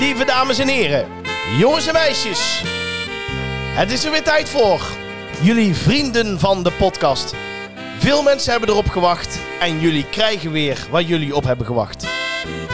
Lieve dames en heren, jongens en meisjes. Het is er weer tijd voor. Jullie vrienden van de podcast. Veel mensen hebben erop gewacht en jullie krijgen weer wat jullie op hebben gewacht.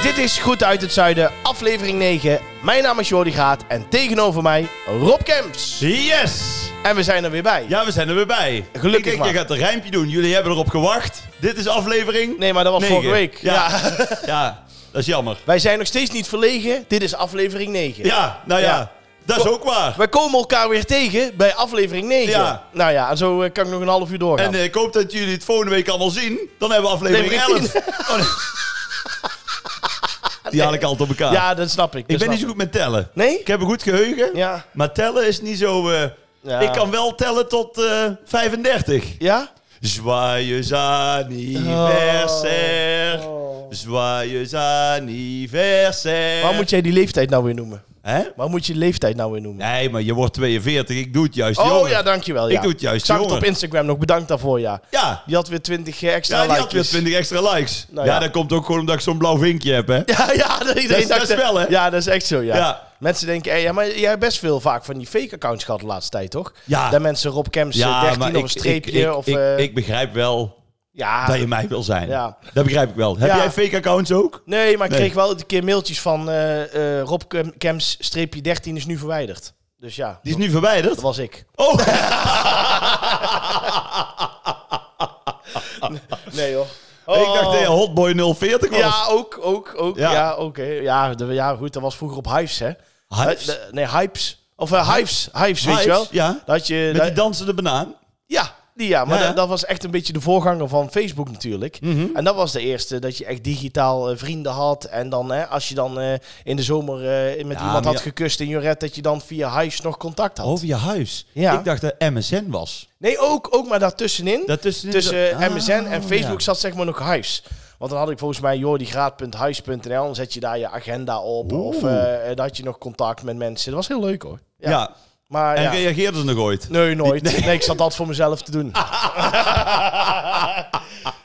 Dit is Goed uit het Zuiden, aflevering 9. Mijn naam is Jordi Graat en tegenover mij Rob Kemps. Yes! En we zijn er weer bij. Ja, we zijn er weer bij. Gelukkig Ik denk, maar. je gaat een rijmpje doen. Jullie hebben erop gewacht. Dit is aflevering... Nee, maar dat was negen. vorige week. Ja. Ja. Ja. dat is jammer. Wij zijn nog steeds niet verlegen. Dit is aflevering 9. Ja, nou ja. Ja. Dat is ook waar. Wij komen elkaar weer tegen bij aflevering 9. Ja. Nou ja, en zo eh, kan ik nog een half uur doorgaan. En eh, ik hoop dat jullie het volgende week allemaal zien. Dan hebben we aflevering Aflevering 11. Oh, nee. Die haal ik altijd op elkaar. ja, dat snap ik. dat ik ben snap niet zo goed met tellen. Nee? Ik heb een goed geheugen. Ja. Maar tellen is niet zo... eh, Ja. Ik kan wel tellen tot eh 35. Ja? Joyeux anniversaire. Joyeux anniversaire. Oh. Waar moet jij die leeftijd nou weer noemen? Hè? Waar moet je die leeftijd nou weer noemen? Nee, maar je wordt 42. Ik doe het juist, oh jongen. ja, dankjewel. Ja. Ik doe het juist, Ik zag het jongen. op Instagram nog. Bedankt daarvoor, ja. Ja. Die had weer 20 extra Ja, die had likes. weer 20 extra likes. Nou ja. ja. dat komt ook gewoon omdat ik zo'n blauw vinkje heb, hè? Ja, ja, dat iedereen Dat is- dat dacht, is wel, hè? Ja, dat is echt zo, ja. Ja. Mensen denken, hé, ja, maar jij hebt best veel vaak van die fake accounts gehad de laatste tijd, toch? Ja. Dat mensen Rob Kemps eh, 13 of een streepje ik, ik, of... ik, eh, ik begrijp wel ja, dat je mij wil zijn. Ja. Dat begrijp ik wel. Heb Ja. jij fake accounts ook? Nee, maar ik Nee. kreeg wel een keer mailtjes van eh, eh, Rob Kem- Kems streepje 13 is nu verwijderd. Dus ja, Die is nu verwijderd. dat was ik. Oh, Nee hoor. ik dacht dat je Hotboy 040 was. Oh. Ja, ook, ook, ook. Ja, Ja. oké. Ja, de- ja, goed, dat was vroeger op Hives, hè? Hypes? Eh, de- nee, Hypes. Of eh, Hives, Hives, weet je wel? Hypes, ja. Dat je, Met die dat- dansende banaan. ja, die ja. Maar Ja, Mhm. dat, hè? dat was echt een beetje de voorganger van Facebook natuurlijk. En dat was de eerste, dat je echt digitaal eh, vrienden had. En dan, hè, als je dan eh, in de zomer eh, met Ja, iemand had maar ja- Oh, gekust in Joret, dat je dan via Hives nog contact had. Over je huis. Ja. Ik dacht dat MSN was. Nee, ook, ook maar daartussenin. Daartussenin- tussen eh, Ah, MSN en Facebook ja. zat zeg maar nog huis. Want dan had ik volgens mij jordigraad.huis.nl. Dan zet je daar je agenda op. Oeh. Of eh, dan had je nog contact met mensen. Dat was heel leuk hoor. Ja. Maar En ja. reageerden ze nog ooit? Nee, nooit. Nee. ik zat dat voor mezelf te doen.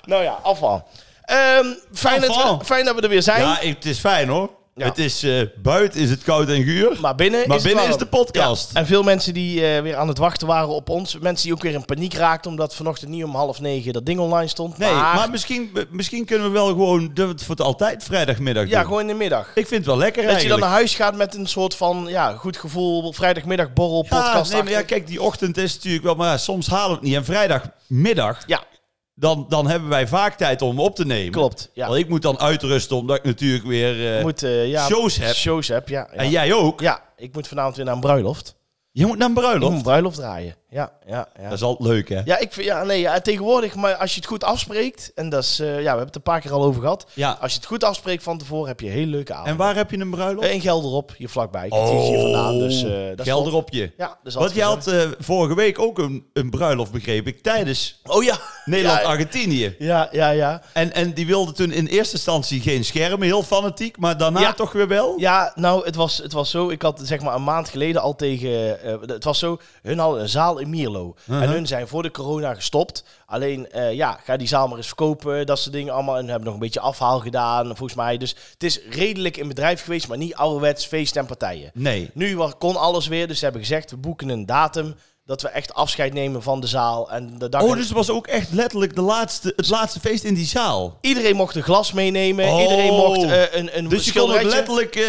nou ja, afval. Ehm, fijn, Dat Afval. we, fijn dat we er weer zijn. Ja, ik- het is fijn hoor. Ja. Het is, eh, buiten is het koud en guur. Maar binnen, Maar is, binnen het is warm. de podcast. Ja, En veel mensen die eh, weer aan het wachten waren op ons. Mensen die ook weer in paniek raakten omdat vanochtend niet om half negen dat ding online stond. nee, maar, maar, misschien, misschien kunnen we wel gewoon de- het voor het altijd vrijdagmiddag ja, doen. gewoon in de middag. Ik vind het wel lekker Dat je dan eigenlijk. naar huis gaat met een soort van ja, goed gevoel, vrijdagmiddag borrel, ja, podcast. nee, maar ja, kijk, die ochtend is natuurlijk wel, maar ja, soms halen we het niet. En vrijdagmiddag, ja, dan, dan hebben wij vaak tijd om op te nemen. klopt. Ja. Want ik moet dan uitrusten, omdat ik natuurlijk weer... eh, moet, eh, ja, shows heb. Shows heb, ja. Ja. En jij ook. Ja, ik moet vanavond weer naar een bruiloft. Je moet naar een bruiloft. Ik moet een bruiloft draaien. Ja, ja, Dat ja. is altijd leuk, hè? Ja, ik vind, ja, nee, ja, tegenwoordig, maar als je het goed afspreekt, en dat is, eh, ja, we hebben het een paar keer al over gehad. Ja. Als je het goed afspreekt van tevoren, heb je een hele leuke avond. En waar heb je een bruiloft? Eh, In Gelderop, hier vlakbij. Het is hier vandaan, dus eh, dat is wel- Gelderopje. Ja, dat is Want altijd Oh, je gezellig. had eh, vorige week ook een, een bruiloft, begreep ik, tijdens Oh ja. Ja, Nederland-Argentinië. ja, ja, ja. En, en die wilde toen in eerste instantie geen schermen, heel fanatiek, maar daarna Ja. toch weer wel? Ja, nou, het was, het was zo. Ik had zeg maar een maand geleden al tegen. eh, het was zo. Hun hadden een zaal in Mierlo. Uh-huh. En hun zijn voor de corona gestopt. Alleen, eh, ja, ga die zaal maar eens verkopen. Dat soort dingen allemaal. En hebben nog een beetje afhaal gedaan, volgens mij. Dus het is redelijk in bedrijf geweest, maar niet ouderwets feesten en partijen. Nee. Nu wa- kon alles weer. Dus ze hebben gezegd: we boeken een datum. Dat we echt afscheid nemen van de zaal. En de dag. Oh, dus het was ook echt letterlijk de laatste, het laatste feest in die zaal. Iedereen mocht een glas meenemen. Oh. Iedereen mocht eh, een, een Dus je kon ook schilderijtje. letterlijk eh,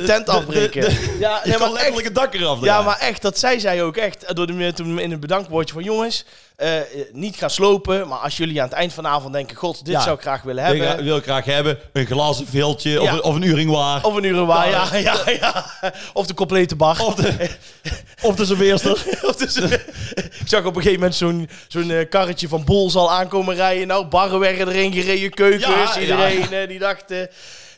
de tent afbreken. de- de- ja, je kon letterlijk het dak eraf Ja, draaien. maar echt, dat zei zij ook echt. eh, Door de, toen in het bedankwoordje van jongens, eh, eh, niet gaan slopen. Maar als jullie aan het eind van de avond denken, god, dit Ja. zou ik graag willen Ik hebben. gra- wil graag hebben een glazen viltje of, Ja. een, of een uringwaar. Of een uur waar, ja, ja, ja. Of de complete bar. Of de, of de serveerster. Of dus- ik zag op een gegeven moment zo'n zo'n eh, karretje van Bols al aankomen rijden. Nou, barren werden erin gereden, keukens, Ja, ja. iedereen eh, die dacht... eh,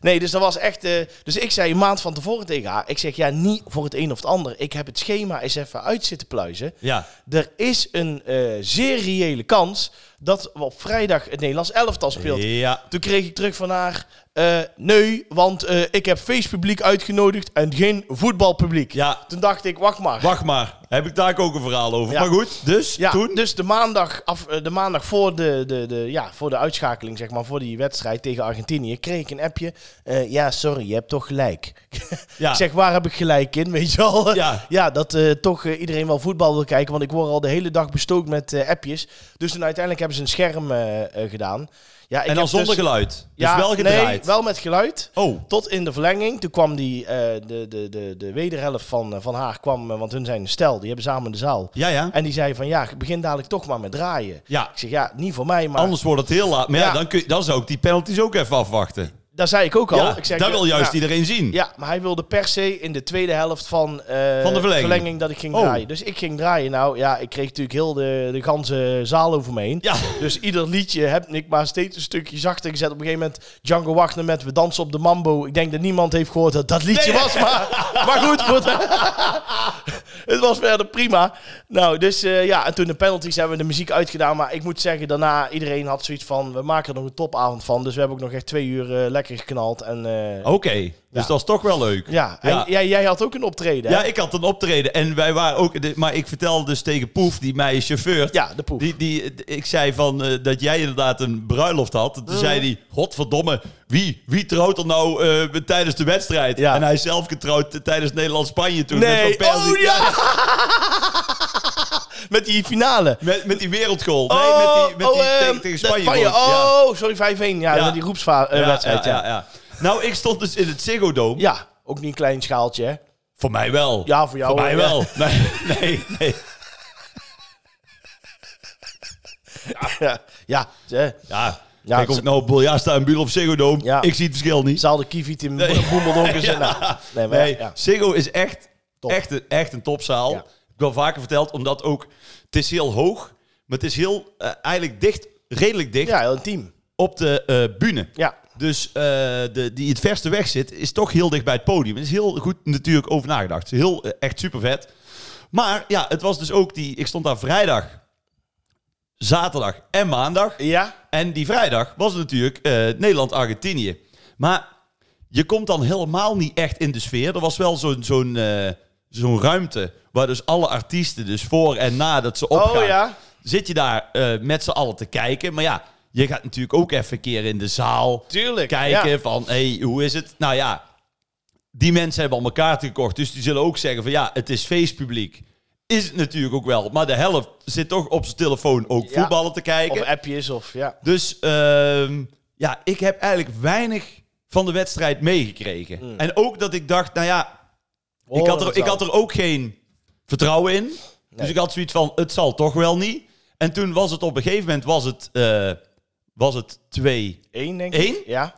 nee, dus dat was echt... eh, dus ik zei een maand van tevoren tegen haar, ik zeg ja, niet voor het een of het ander. Ik heb het schema eens even uit zitten pluizen. Ja. Er is een eh, zeer reële kans dat we op vrijdag het Nederlands elftal speelt. Ja. Toen kreeg ik terug van haar, eh, nee, want eh, ik heb feestpubliek uitgenodigd en geen voetbalpubliek. Ja. Toen dacht ik, wacht maar. Wacht maar. Heb ik daar ook een verhaal over. Ja. Maar goed, dus Ja, toen. dus de maandag, af, eh, de maandag voor, de, de, de, ja, voor de uitschakeling, zeg maar, voor die wedstrijd tegen Argentinië, kreeg ik een appje. eh, ja, sorry, je hebt toch gelijk. Ja. Ik zeg, waar heb ik gelijk in, weet je al? Ja. dat eh, toch eh, iedereen wel voetbal wil kijken, want ik word al de hele dag bestookt met eh, appjes. Dus toen uiteindelijk hebben ze een scherm eh, eh, gedaan. Ja, ik en heb dan dus- zonder geluid. Dus Ja, wel Nee, gedraaid. wel met geluid. Oh, Tot in de verlenging. Toen kwam die, eh, de, de, de, de wederhelft van, eh, van haar, kwam, eh, want hun zijn een stel, die hebben samen de zaal. ja, ja. En die zei van ja, begin dadelijk toch maar met draaien. Ja, Ik zeg ja, niet voor mij, maar anders wordt het heel laat. Maar ja, Ja. dan, kun je, dan zou ik die penalties ook even afwachten. daar zei ik ook al. Ja, ik zeg, dat wil juist ja, iedereen zien. Ja, maar hij wilde per se in de tweede helft van, eh, verlenging. dat ik ging Oh. draaien. Dus ik ging draaien. Nou ja, ik kreeg natuurlijk heel de, de ganse zaal over me heen. Ja. Dus ieder liedje heb ik maar steeds een stukje zachter gezet. Op een gegeven moment Django Wagner met We dansen op de mambo. Ik denk dat niemand heeft gehoord dat dat liedje Nee. was. Maar, maar goed, voor de- het was verder prima. Nou, dus eh, ja, en toen de penalties hebben we de muziek uitgedaan. Maar ik moet zeggen, daarna iedereen had zoiets van... we maken er nog een topavond van. Dus we hebben ook nog echt twee uur eh, lekker geknald. En, eh, Oké, dus dat is toch wel leuk. ja, en Ja. Jij, jij had ook een optreden, hè? Ja, ik had een optreden en wij waren ook... de- Maar ik vertelde dus tegen Poef, die mij chauffeurt... Ja, de poef. Die, die, ik zei van eh, dat jij inderdaad een bruiloft had. Toen Mm. zei hij, godverdomme, wie, wie trouwt er nou eh, tijdens de wedstrijd? Ja. En hij is zelf getrouwd tijdens Nederland-Spanje toen. nee, Met, zo'n penalty. oh ja! Met die finale. met, met die wereldgoal. nee, met die, met die ehm, tegen, tegen de- Spanje. Spanje. goal. Ja. Oh, sorry, 5-1. Ja, Ja. met die groepswedstrijd. Ja, ja, ja. Nou, ik stond dus in het Ziggo Dome. Ja, ook niet een klein schaaltje, hè? Voor mij wel. Ja, voor jou Voor mij wel, ja. wel. Nee, nee, nee. Ja, ja. hè. Ja, Ja, kijk, of ze- ik nou op Biljasta en Buul of Ziggo Dome, Ja. ik zie het verschil niet. Ze hadden Kivit in Boemeldonk en zo. Nou, Nee, maar Nee, ja, ja. Ziggo is echt, Top. echt, een, echt een topzaal. Ja. Ik heb wel vaker verteld, omdat ook... Het is heel hoog, maar het is heel... eh, eigenlijk dicht, redelijk dicht Ja, heel intiem. op de eh bühne. Ja, Dus eh, de, die het verste weg zit, is toch heel dicht bij het podium. Het is heel goed natuurlijk over nagedacht. Het is Heel, eh, echt super vet. Maar ja, het was dus ook die... Ik stond daar vrijdag, zaterdag en maandag. ja. En die vrijdag was het natuurlijk eh, Nederland-Argentinië. Maar je komt dan helemaal niet echt in de sfeer. Er was wel zo'n zo'n eh, zo'n ruimte waar dus alle artiesten dus voor en na dat ze opgaan... Oh ja. zit je daar eh, met z'n allen te kijken. Maar ja, je gaat natuurlijk ook even een keer in de zaal Tuurlijk. kijken ja. van... hey, hoe is het? Nou ja, die mensen hebben allemaal kaarten gekocht. Dus die zullen ook zeggen van ja, het is feestpubliek. Is het natuurlijk ook wel. Maar de helft zit toch op zijn telefoon ook Ja. voetballen te kijken. Of appjes of ja. Dus ehm, ja, ik heb eigenlijk weinig van de wedstrijd meegekregen. Hmm. En ook dat ik dacht, nou ja, ik had, er, ik had er ook geen vertrouwen in. Dus Nee. ik had zoiets van, het zal toch wel niet. En toen was het op een gegeven moment, was het, eh, was het 2 één, denk ik. Eén? Ja.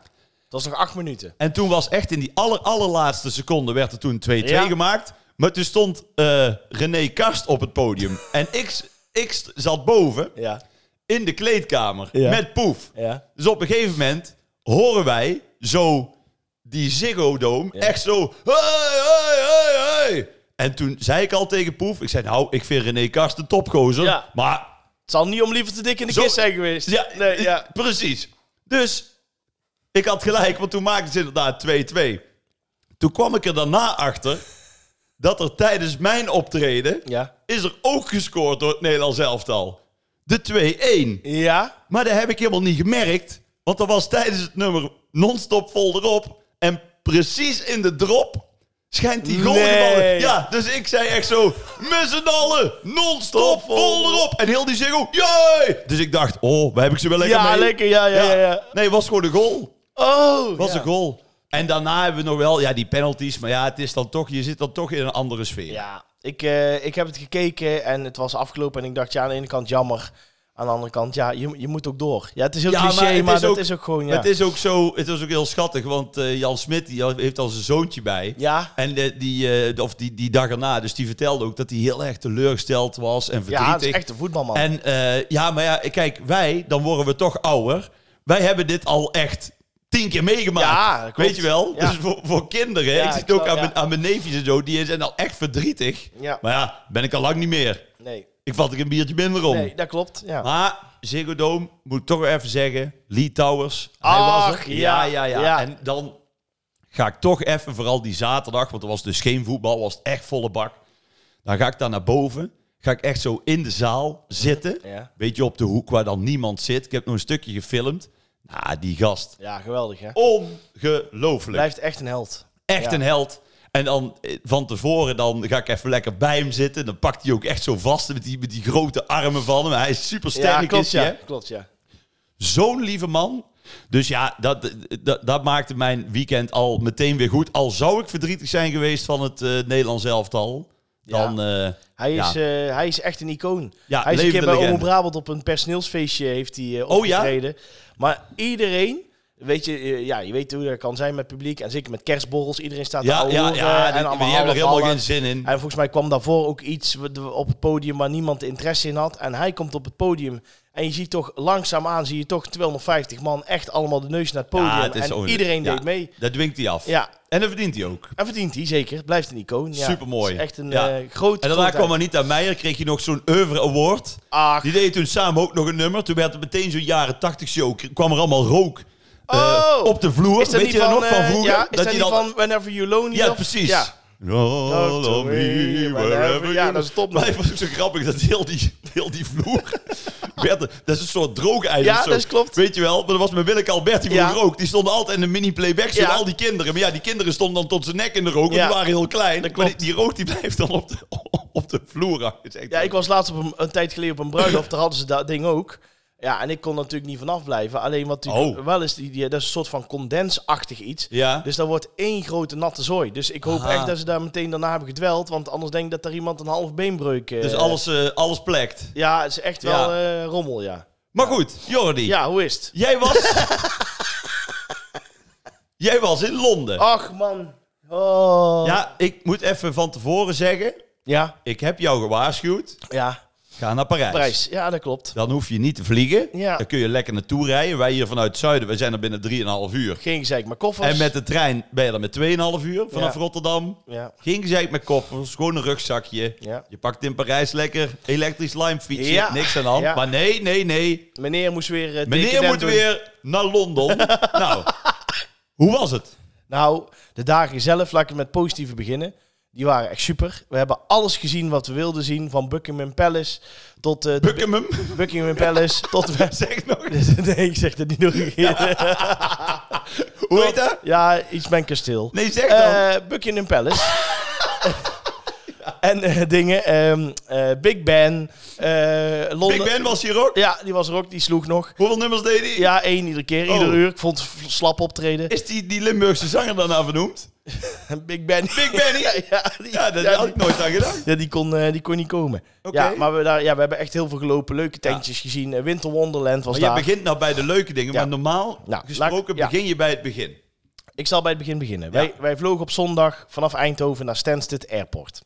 Dat was nog acht minuten. En toen was echt in die aller, allerlaatste seconde werd er toen 2-2 Ja. gemaakt. Maar toen stond eh, René Karst op het podium. en ik, s- ik st- zat boven Ja. in de kleedkamer Ja. met Poef. Ja. Dus op een gegeven moment horen wij zo die Ziggo Dome echt zo... Hoi, hoi, hoi, hoi. En toen zei ik al tegen Poef, ik zei nou, ik vind René Karst een topgozer. Ja. Maar Het zal niet om liever te dik in de Zo- kist zijn geweest. ja, Nee, ja. precies. Dus ik had gelijk, want toen maakten ze inderdaad 2-2. Toen kwam ik er daarna achter dat er tijdens mijn optreden Ja. is er ook gescoord door het Nederlands elftal. De 2-1. Ja. Maar dat heb ik helemaal niet gemerkt. Want dat was tijdens het nummer non-stop vol erop. En precies in de drop schijnt die goal Nee. gevallen. Ja, dus ik zei echt zo... Met z'n allen, non-stop vol erop. En heel die zingel, jee! Dus ik dacht, oh, waar heb ik ze wel lekker Ja, mee? lekker. Ja, ja, ja. ja. Nee, was gewoon een goal. Oh. Was ja. een goal. En daarna hebben we nog wel, ja, die penalties. Maar ja, het is dan toch, je zit dan toch in een andere sfeer. Ja, ik, eh, ik heb het gekeken en het was afgelopen. En ik dacht, ja, aan de ene kant jammer. Aan de andere kant, ja, je, je moet ook door. Ja, het is heel Ja, cliché, maar maar, het is dat ook- is ook gewoon, ja. Maar Het is ook zo, het was ook heel schattig, want eh, Jan Smit die heeft al zijn zoontje bij. Ja, En eh, die, eh, of die, die dag erna, dus die vertelde ook dat hij heel erg teleurgesteld was en ja, het verdrietig. is echt een voetbalman. En eh, ja, maar ja, kijk, wij, dan worden we toch ouder. Wij hebben dit al echt tien keer meegemaakt. Ja, dat klopt. Weet je wel? Ja. Dus voor, voor kinderen, Ja, ik zie ik het ook wel, aan, ja. mijn, aan mijn neefjes en zo, die zijn al echt verdrietig. Ja. Maar ja, ben ik al lang niet meer. nee, Ik vat er een biertje minder om. nee, dat klopt, ja. Maar Ziggo Dome, moet ik toch weer even zeggen, Lee Towers, hij Ach, was er. ja, Ja, ja, ja, ja. En dan ga ik toch even, vooral die zaterdag, want er was dus geen voetbal, was het echt volle bak. Dan ga ik daar naar boven. Ga ik echt zo in de zaal zitten. Ja. Weet je, op de hoek waar dan niemand zit. Ik heb nog een stukje gefilmd. Nou, die gast. Ja, geweldig hè. Ongelooflijk. Blijft echt een held. Echt Ja. een held. En dan eh, van tevoren dan ga ik even lekker bij hem zitten. Dan pakt hij ook echt zo vast met die, met die grote armen van hem. Hij is super sterk. ja, klopt, ja. ja. klopt ja. Zo'n lieve man. Dus ja, dat, dat, dat maakte mijn weekend al meteen weer goed. Al zou ik verdrietig zijn geweest van het eh Nederlands elftal. Dan, eh, Hij Ja. is, eh, hij is echt een icoon. Ja, hij is een keer bij levende Omroep legende. Brabant op een personeelsfeestje heeft hij eh, Oh ja? opgetreden. Maar iedereen, weet je, eh, ja, je weet hoe dat kan zijn met publiek. En zeker met kerstborrels. Iedereen staat ja, te ja, ouwehoeren ja, die, eh, en die allemaal hebben er helemaal hallen. geen zin in. En volgens mij kwam daarvoor ook iets wat- op het podium waar niemand interesse in had. En hij komt op het podium. En je ziet toch langzaamaan, zie je toch 250 man echt allemaal de neus naar het podium. Ja, het is en zo- iedereen ja, deed mee. Dat dwingt hij af. Ja, En dat verdient hij ook. en verdient hij zeker. Blijft een icoon. Ja. Supermooi. Is echt een Ja. eh, grote En daarna grootheid. kwam Anita Meijer, kreeg je nog zo'n oeuvre award. Ach, Die deed toen samen ook nog een nummer. Toen werd het meteen zo'n jaren 80 show. K- kwam er allemaal rook eh, Oh! op de vloer. Is dat Weet niet je dat van, nog van eh, vroeger? Ja, is dat, die niet dan- van Whenever You Lonely? Ja, of- precies. Ja. Love to to me, me, wherever ja, you- dat is top Maar ik vond het zo grappig dat heel die, heel die vloer... werd, dat is een soort droogeiland. Ja, zo. dat is klopt. Weet je wel, maar dat was met Willeke Albert, die Ja. vroeger ook. Die stonden altijd in een mini-playback show Ja. met al die kinderen. Maar ja, die kinderen stonden dan tot zijn nek in de rook, want Ja. die waren heel klein. Dat Maar die, klopt. die rook die blijft dan op de, op de vloer hangen. Het is echt ja, ik was laatst op een, een tijd geleden op een bruiloft. daar hadden ze dat ding ook. Ja, en ik kon er natuurlijk niet vanaf blijven. Alleen wat natuurlijk Oh. wel is, die, die- dat is een soort van condensachtig iets. Ja. Dus dat wordt één grote natte zooi. Dus ik hoop Aha. echt dat ze daar meteen daarna hebben gedweld. Want anders denk ik dat daar iemand een half beenbreuk... eh, Dus alles, eh, alles plekt. Ja, het is echt Ja. wel eh, rommel, ja. Maar goed, Jordi. Ja, hoe is het? Jij was... jij was in Londen. Ach, man. Oh. Ja, ik moet even van tevoren zeggen... Ja, Ik heb jou gewaarschuwd. ja. Ga naar Parijs. Prijs. Ja, dat klopt. Dan hoef je niet te vliegen. Ja. Dan kun je lekker naartoe rijden. Wij hier vanuit het zuiden, wij zijn er binnen 3,5 uur. Geen gezeik, maar koffers. En met de trein ben je dan met 2,5 uur vanaf Ja. Rotterdam. Ja. Geen gezeik met koffers, gewoon een rugzakje. Ja. Je pakt in Parijs lekker elektrisch limefietsje, Ja. niks aan de hand. Ja. Maar nee, nee, nee. Meneer moest weer. eh, Meneer decadent moet doen. weer naar Londen. nou, hoe was het? Nou, de dagen zelf, laat ik met positieve beginnen. Die waren echt super. We hebben alles gezien wat we wilden zien. Van Buckingham Palace tot eh, de Buckingham? Bu- Buckingham Palace. tot we. zeg nog. nee, ik zeg dat niet nog een keer. Hoe heet dat? ja, iets mijn kasteel. Nee, zeg dan. Eh Buckingham Palace. En eh, dingen. ehm, eh, Big Ben. eh, Londen. Big Ben was hier ook. Ja, die was er ook. Die sloeg nog. Hoeveel nummers deed hij? Ja, één iedere keer. Oh. Ieder uur. Ik vond het slap optreden. Is die, die Limburgse zanger daarna vernoemd? Big Ben. Big Benny? nou ja, ja, die, Ja, daar ja, had die- ik nooit aan gedacht. Ja, die kon, eh, die kon niet komen. Oké. Ja, maar we, daar, ja, we hebben echt heel veel gelopen. Leuke tentjes gezien. Eh, Winter Wonderland was Maar daar. jij begint nou bij de leuke dingen, Ja. maar normaal Nou, gesproken laat- ja. begin je bij het begin. Ik zal bij het begin beginnen. Wij, wij vlogen op zondag vanaf Eindhoven naar Stansted Airport.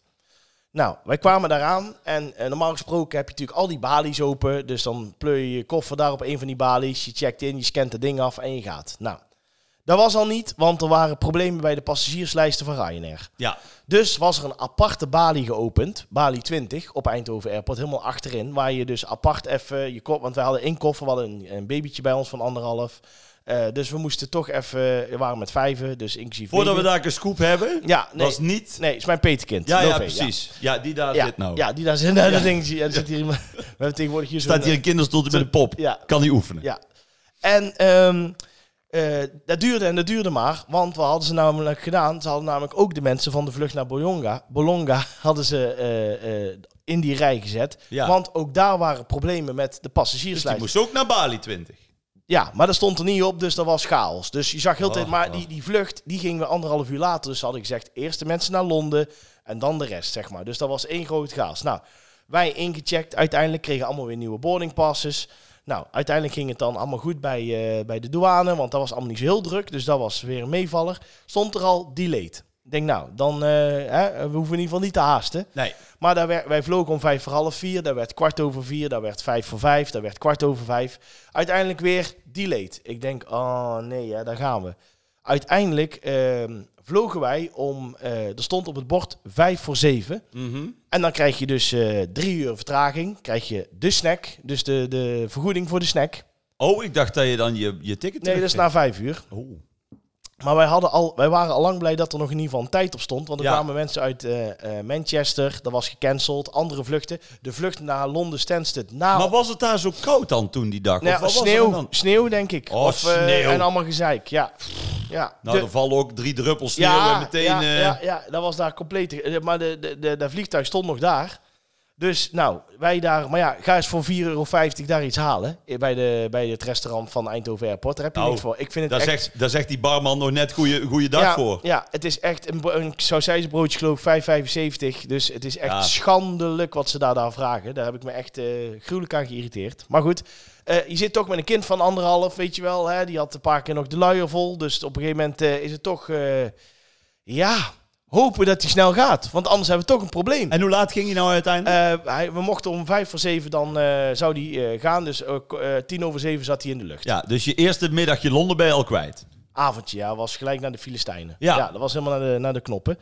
Nou, wij kwamen daaraan en eh, normaal gesproken heb je natuurlijk al die balies open. Dus dan pleur je je koffer daar op een van die balies. Je checkt in, je scant het ding af en je gaat. Nou, dat was al niet, want er waren problemen bij de passagierslijsten van Ryanair. Ja. Dus was er een aparte balie geopend, balie 20, op Eindhoven Airport, helemaal achterin. Waar je dus apart even je kop, want wij hadden één koffer, we hadden een, een babytje bij ons van anderhalf. Eh, dus we moesten toch even, we waren met vijven, dus inclusief. Voordat we baby. daar een scoop hebben, Ja, nee, was niet... nee, het is mijn petekind. Ja, ja, Lovee, precies. Ja, die daar Ja, zit nou. ja, die daar zit, nou, dat ding, zie je, er zit hier iemand. We hebben tegenwoordig hier zo'n... Staat hier een kinderstoeltje met een pop. Ja. Kan die oefenen. Dus Ja. En ehm, eh, dat duurde en dat duurde maar. Want wat hadden ze namelijk gedaan? Ze hadden namelijk ook de mensen van de vlucht naar Bolonga, Bolonga hadden ze eh, eh, in die rij gezet. Ja. Want ook daar waren problemen met de Dus die passagierslijst. moest ook naar Bali 20. Ja, maar dat stond er niet op, dus dat was chaos. Dus je zag heel de tijd, Oh, maar oh. die, die vlucht, die ging weer anderhalf uur later. Dus ze hadden gezegd, eerst de mensen naar Londen en dan de rest, zeg maar. Dus dat was één groot chaos. Nou, wij ingecheckt, uiteindelijk kregen allemaal weer nieuwe boarding passes. Nou, uiteindelijk ging het dan allemaal goed bij, eh, bij de douane, want dat was allemaal niet zo heel druk. Dus dat was weer een meevaller. Stond er al delayed. Ik denk, nou, dan eh, hè, we hoeven in ieder geval niet te haasten. Nee. Maar daar werd, wij vlogen om vijf voor half vier, daar werd kwart over vier, daar werd vijf voor vijf, daar werd kwart over vijf. Uiteindelijk weer delayed. Ik denk, oh nee, ja, daar gaan we. Uiteindelijk ehm, vlogen wij om, eh, er stond op het bord vijf voor zeven. Mhm. En dan krijg je dus eh, drie uur vertraging, krijg je de snack, dus de, de vergoeding voor de snack. Oh, ik dacht dat je dan je, je ticket Nee, dat is na vijf uur. terugkreeg. Oh. Maar wij, hadden al, wij waren al lang blij dat er nog in ieder geval een tijd op stond. Want er Ja. kwamen mensen uit eh, eh, Manchester, dat was gecanceld. Andere vluchten. De vlucht naar Londen Stansted. Nou, Maar was het daar zo koud dan toen die dag? nou, of wat was er sneeuw, dan? sneeuw denk ik. Oh, of, eh, sneeuw. En allemaal gezeik, ja. ja. Nou, De- er vallen ook drie druppels sneeuw en meteen... ja, eh, ja, ja, dat was daar compleet. eh, Maar de, de, de, dat vliegtuig stond nog daar. Dus nou, wij daar. Maar ja, ga eens voor 4,50 euro daar iets halen. eh, Bij, de, bij het restaurant van Eindhoven Airport. Daar heb je Nou, niks voor. Ik vind het Daar, echt, zegt, daar zegt die barman nog net goeie, goeie dag ja, voor. Ja, het is echt een, bro- een sausijzenbroodje geloof ik 5,75. Dus het is echt Ja. schandelijk wat ze daar, daar vragen. Daar heb ik me echt eh, gruwelijk aan geïrriteerd. Maar goed, eh, je zit toch met een kind van anderhalf, weet je wel. Hè? Die had een paar keer nog de luier vol. Dus op een gegeven moment eh, is het toch... eh, ja, hopen dat hij snel gaat. Want anders hebben we toch een probleem. En hoe laat ging je nou uiteindelijk? Eh, hij, we mochten om vijf voor zeven, dan eh, zou die eh, gaan. Dus eh, ko- eh, tien over zeven zat hij in de lucht. ja, dus je eerste middagje Londen ben je al kwijt. avondje, ja, was gelijk naar de Filistijnen. Ja. Ja, dat was helemaal naar de, naar de knoppen.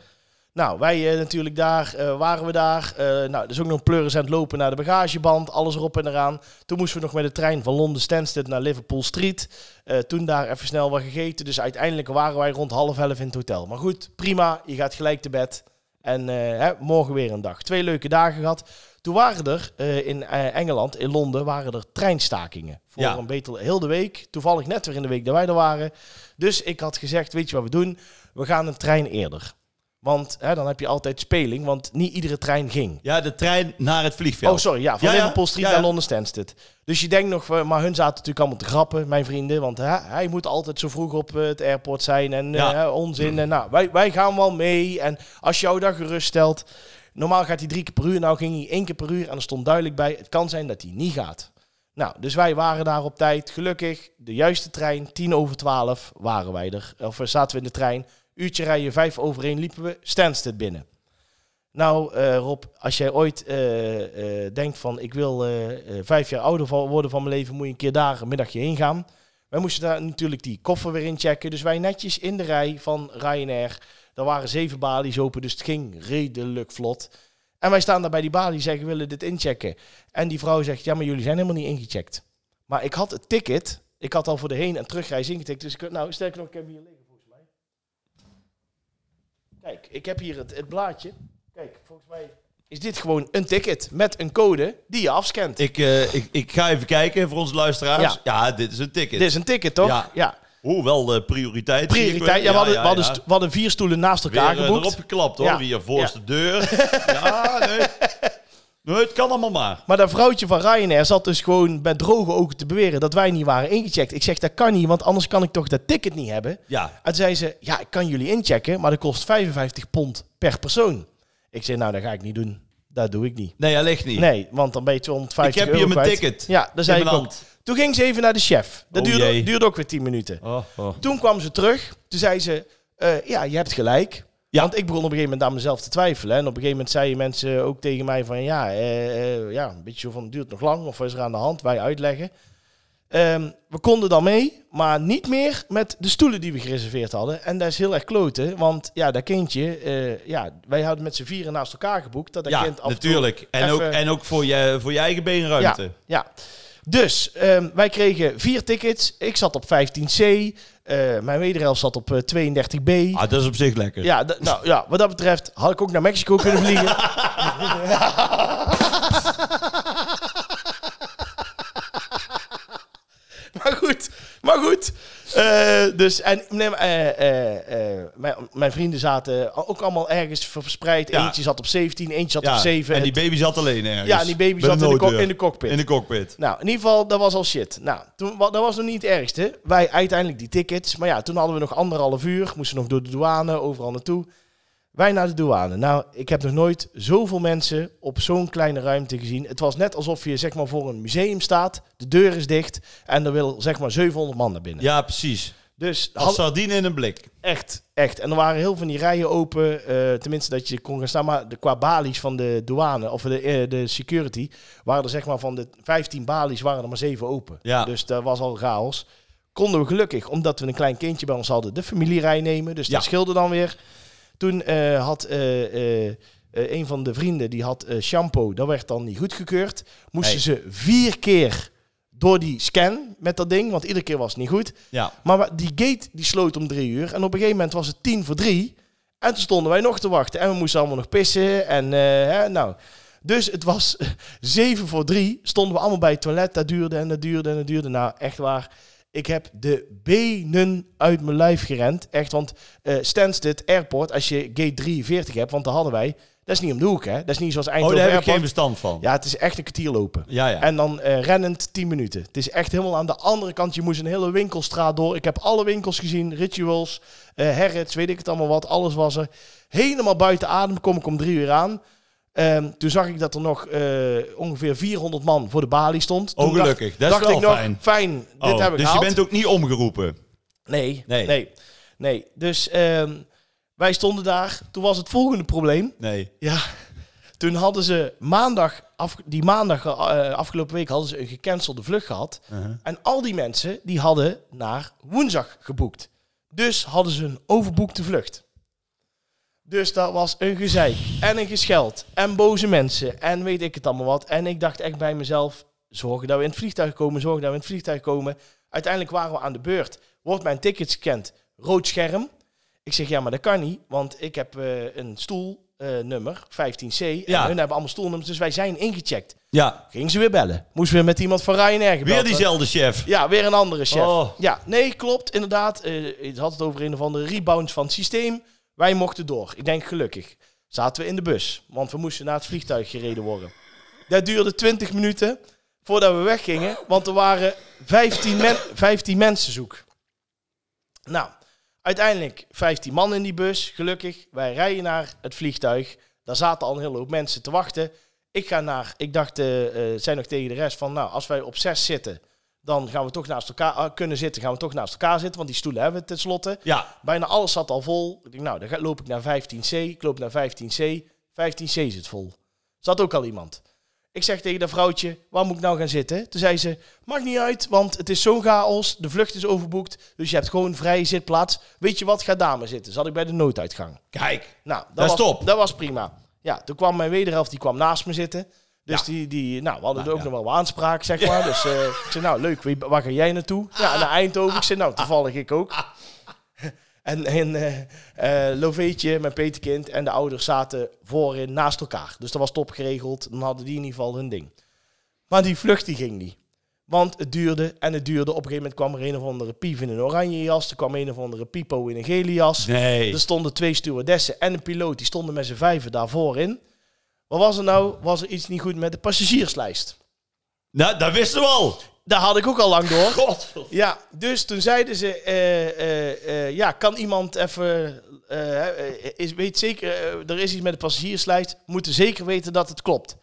Nou, wij eh, natuurlijk daar, eh, waren we daar. Eh nou, dus ook nog pleuris aan het lopen naar de bagageband, alles erop en eraan. Toen moesten we nog met de trein van Londen Stansted naar Liverpool Street. Eh, toen daar even snel wat gegeten, dus uiteindelijk waren wij rond half elf in het hotel. Maar goed, prima, je gaat gelijk te bed. En eh, hè, morgen weer een dag. Twee leuke dagen gehad. Toen waren er eh, in eh, Engeland, in Londen, waren er treinstakingen. Voor Ja. een beetje heel de week. Toevallig net weer in de week dat wij er waren. Dus ik had gezegd, weet je wat we doen? We gaan een trein eerder. Want hè, dan heb je altijd speling, want niet iedere trein ging. Ja, de trein naar het vliegveld. Oh, sorry, ja, van Ja, ja. Liverpool Street Ja, ja. naar Londen Stansted. Dus je denkt nog, eh, maar hun zaten natuurlijk allemaal te grappen, mijn vrienden. Want hè, hij moet altijd zo vroeg op eh, het airport zijn en eh, Ja. hè, onzin. En, nou, wij, wij gaan wel mee. En als jou dat gerust stelt, normaal gaat hij drie keer per uur. Nou ging hij één keer per uur en er stond duidelijk bij, het kan zijn dat hij niet gaat. Nou, dus wij waren daar op tijd. Gelukkig, de juiste trein, tien over twaalf waren wij er. Of eh, zaten we in de trein. Uurtje rijden, vijf over één liepen we Stansted binnen. Nou, eh, Rob, als jij ooit eh, eh, denkt van ik wil eh, eh, vijf jaar ouder van- worden van mijn leven, moet je een keer daar een middagje heen gaan. Wij moesten daar natuurlijk die koffer weer inchecken. Dus wij netjes in de rij van Ryanair. Er waren zeven balies open, dus het ging redelijk vlot. En wij staan daar bij die balie en zeggen, we willen dit inchecken. En die vrouw zegt, ja, maar jullie zijn helemaal niet ingecheckt. Maar ik had het ticket, ik had al voor de heen- en terugreis ingetikt. Dus ik, nou, sterker nog, ik heb hem hier liggen volgens mij. Kijk, ik heb hier het, het blaadje. Kijk, volgens mij is dit gewoon een ticket met een code die je afscant. Ik, eh, ik, ik ga even kijken voor onze luisteraars. Ja, Ja. dit is een ticket. Dit is een ticket, toch? Ja. Oeh, wel eh, prioriteit. Prioriteit. Ja, we, hadden, we, hadden ja. st- we hadden vier stoelen naast Weer elkaar eh, erop geboekt. geklapt hoor, Ja. hier voorste deur. Ja, nee. Nee, het kan allemaal maar. Maar dat vrouwtje van Ryanair zat dus gewoon met droge ogen te beweren dat wij niet waren ingecheckt. Ik zeg, dat kan niet, want anders kan ik toch dat ticket niet hebben. Ja, En toen zei ze, ja, ik kan jullie inchecken, maar dat kost 55 pond per persoon. Ik zei, nou, dat ga ik niet doen. Dat doe ik niet. nee, hij ligt niet. Nee, want dan ben je 250 Ik heb euro hier mijn kwijt. ticket. Ja, dat zei In ik mijn ook. Toen ging ze even naar de chef. Dat Oh, jee. duurde, duurde ook weer 10 minuten. Oh, oh. Toen kwam ze terug. Toen zei ze, eh, ja, je hebt gelijk. Ja. Want ik begon op een gegeven moment aan mezelf te twijfelen. En op een gegeven moment zeiden mensen ook tegen mij van... Ja, eh, eh, ja een beetje zo van, duurt nog lang. Of wat is er aan de hand? Wij uitleggen. Ehm, we konden dan mee, maar niet meer met de stoelen die we gereserveerd hadden. En dat is heel erg kloten, want ja, dat kindje... eh, ja, wij hadden met z'n vieren naast elkaar geboekt. Dat dat Ja, kind af en toe- natuurlijk. En ook, even- en ook voor, je, voor je eigen beenruimte. ja, ja. Dus ehm, wij kregen vier tickets. Ik zat op 15C. eh, mijn wederhelft zat op eh, 32B. Ah, dat is op zich lekker. Ja, d- nou, ja, wat dat betreft had ik ook naar Mexico kunnen vliegen. maar goed, maar goed. Eh, dus, en nee, maar, eh, eh, eh, mijn, mijn vrienden zaten ook allemaal ergens verspreid. Ja. Eentje zat op 17, eentje zat Ja, op 7. En die baby zat alleen ergens. ja, en die baby Bij zat in de, ko- nooddeur. in de cockpit. In de cockpit. Nou, in ieder geval, dat was al shit. Nou, toen, wa- dat was nog niet het ergste. Wij uiteindelijk die tickets. Maar ja, toen hadden we nog anderhalf uur. Moesten nog door de douane, overal naartoe. Wij naar de douane. Nou, ik heb nog nooit zoveel mensen op zo'n kleine ruimte gezien. Het was net alsof je zeg maar voor een museum staat. De deur is dicht. En er wil zeg maar 700 man naar binnen. Ja, precies. Dus Als had- sardine in een blik. echt, echt. En er waren heel veel van die rijen open. eh, tenminste, dat je kon gaan staan. Maar de, qua balies van de douane, of de, eh, de security, waren er zeg maar van de 15 balies, waren er maar 7 open. Ja. Dus dat was al chaos. Konden we gelukkig, omdat we een klein kindje bij ons hadden, de familierij nemen. Dus dat Ja. scheelde dan weer. Toen eh, had eh, eh, eh, een van de vrienden, die had eh, shampoo. Dat werd dan niet goedgekeurd. Moesten Nee. ze vier keer door die scan met dat ding, want iedere keer was het niet goed. Ja. Maar wa- die gate die sloot om drie uur. En op een gegeven moment was het tien voor drie. En toen stonden wij nog te wachten. En we moesten allemaal nog pissen. En eh, hè, nou. Dus het was zeven voor drie. Stonden we allemaal bij het toilet. Dat duurde en dat duurde en dat duurde. Nou, echt waar. Ik heb de benen uit mijn lijf gerend. Echt, want eh Stansted Airport, als je gate 43 hebt, want daar hadden wij. Dat is niet om de hoek, hè? Dat is niet zoals Oh, Eindhoven daar heb ik Airport. geen verstand van. Ja, het is echt een kwartier lopen. ja. ja. En dan eh, rennend 10 minuten. Het is echt helemaal aan de andere kant. Je moest een hele winkelstraat door. Ik heb alle winkels gezien. Rituals, eh Harrods, weet ik het allemaal wat. Alles was er. Helemaal buiten adem kom ik om drie uur aan. Ehm, toen zag ik dat er nog eh, ongeveer 400 man voor de balie stond. Toen oh, gelukkig. Dat Dacht, dacht is wel ik nog, fijn. fijn, dit Oh, heb ik dus gehaald. je bent ook niet omgeroepen. Nee, nee, Nee. nee. Dus ehm, wij stonden daar. Toen was het volgende probleem. Nee. Ja, toen hadden ze maandag, af, die maandag eh, afgelopen week, hadden ze een gecancelde vlucht gehad. Uh-huh. En al die mensen, die hadden naar woensdag geboekt. Dus hadden ze een overboekte vlucht. Dus dat was een gezeik en een gescheld en boze mensen en weet ik het allemaal wat. En ik dacht echt bij mezelf, zorgen dat we in het vliegtuig komen, zorgen dat we in het vliegtuig komen. Uiteindelijk waren we aan de beurt. Wordt mijn ticket scant, rood scherm. Ik zeg, ja, maar dat kan niet, want ik heb eh, een stoelnummer, 15C. En hun Ja. hebben allemaal stoelnummers, dus wij zijn ingecheckt. Ja. Ging ze weer bellen. Moest weer met iemand van Ryanair gebeld Weer worden. diezelfde chef. Ja, weer een andere chef. Oh. Ja, nee, klopt, inderdaad. Eh, het had het over een of andere rebound van het systeem. Wij mochten door. Ik denk gelukkig. Zaten we in de bus, want we moesten naar het vliegtuig gereden worden. Dat duurde 20 minuten voordat we weggingen, want er waren 15, men- 15 mensen zoek. Nou, uiteindelijk 15 man in die bus, gelukkig. Wij rijden naar het vliegtuig. Daar zaten al een hele hoop mensen te wachten. Ik ga naar, ik dacht, eh eh, zei nog tegen de rest van, nou, als wij op 6 zitten, dan gaan we toch naast elkaar ah, kunnen zitten, gaan we toch naast elkaar zitten, want die stoelen hebben we tenslotte. Ja. Bijna alles zat al vol. Ik denk, nou, dan ga- loop ik naar 15C. Ik loop naar 15C. 15C zit vol. Zat ook al iemand. Ik zeg tegen dat vrouwtje, waar moet ik nou gaan zitten? Toen zei ze, maakt niet uit, want het is zo'n chaos. De vlucht is overboekt, dus je hebt gewoon vrije zitplaats. Weet je wat, ga daar maar zitten. Zat ik bij de nooduitgang. Kijk. Nou, dat, Dat is was, top. Dat was prima. Ja, toen kwam mijn wederhelft, die kwam naast me zitten. Dus Ja. die, die, nou, we hadden Nou, er ook ja. nog wel wat aanspraak, zeg maar. Dus eh, ik zei, nou, leuk, wie- waar ga jij naartoe? Ja, naar Eindhoven. Ik zei, nou, toevallig ik ook. En, en eh, eh, Loveetje, mijn peterkind en de ouders zaten voorin naast elkaar. Dus dat was top geregeld. Dan hadden die in ieder geval hun ding. Maar die vlucht die ging niet. Want het duurde en het duurde. Op een gegeven moment kwam er een of andere pief in een oranje jas. Er kwam een of andere pipo in een gele jas. Nee. Er stonden twee stewardessen en een piloot. Die stonden met z'n vijven daarvoor in. Wat was er nou? Was er iets niet goed met de passagierslijst? Nou, dat wisten we al. Daar had ik ook al lang door. God. Ja, dus toen zeiden ze... eh, eh, eh, ja, kan iemand even... eh, eh, is, weet zeker, eh, er is iets met de passagierslijst. Moeten zeker weten dat het klopt.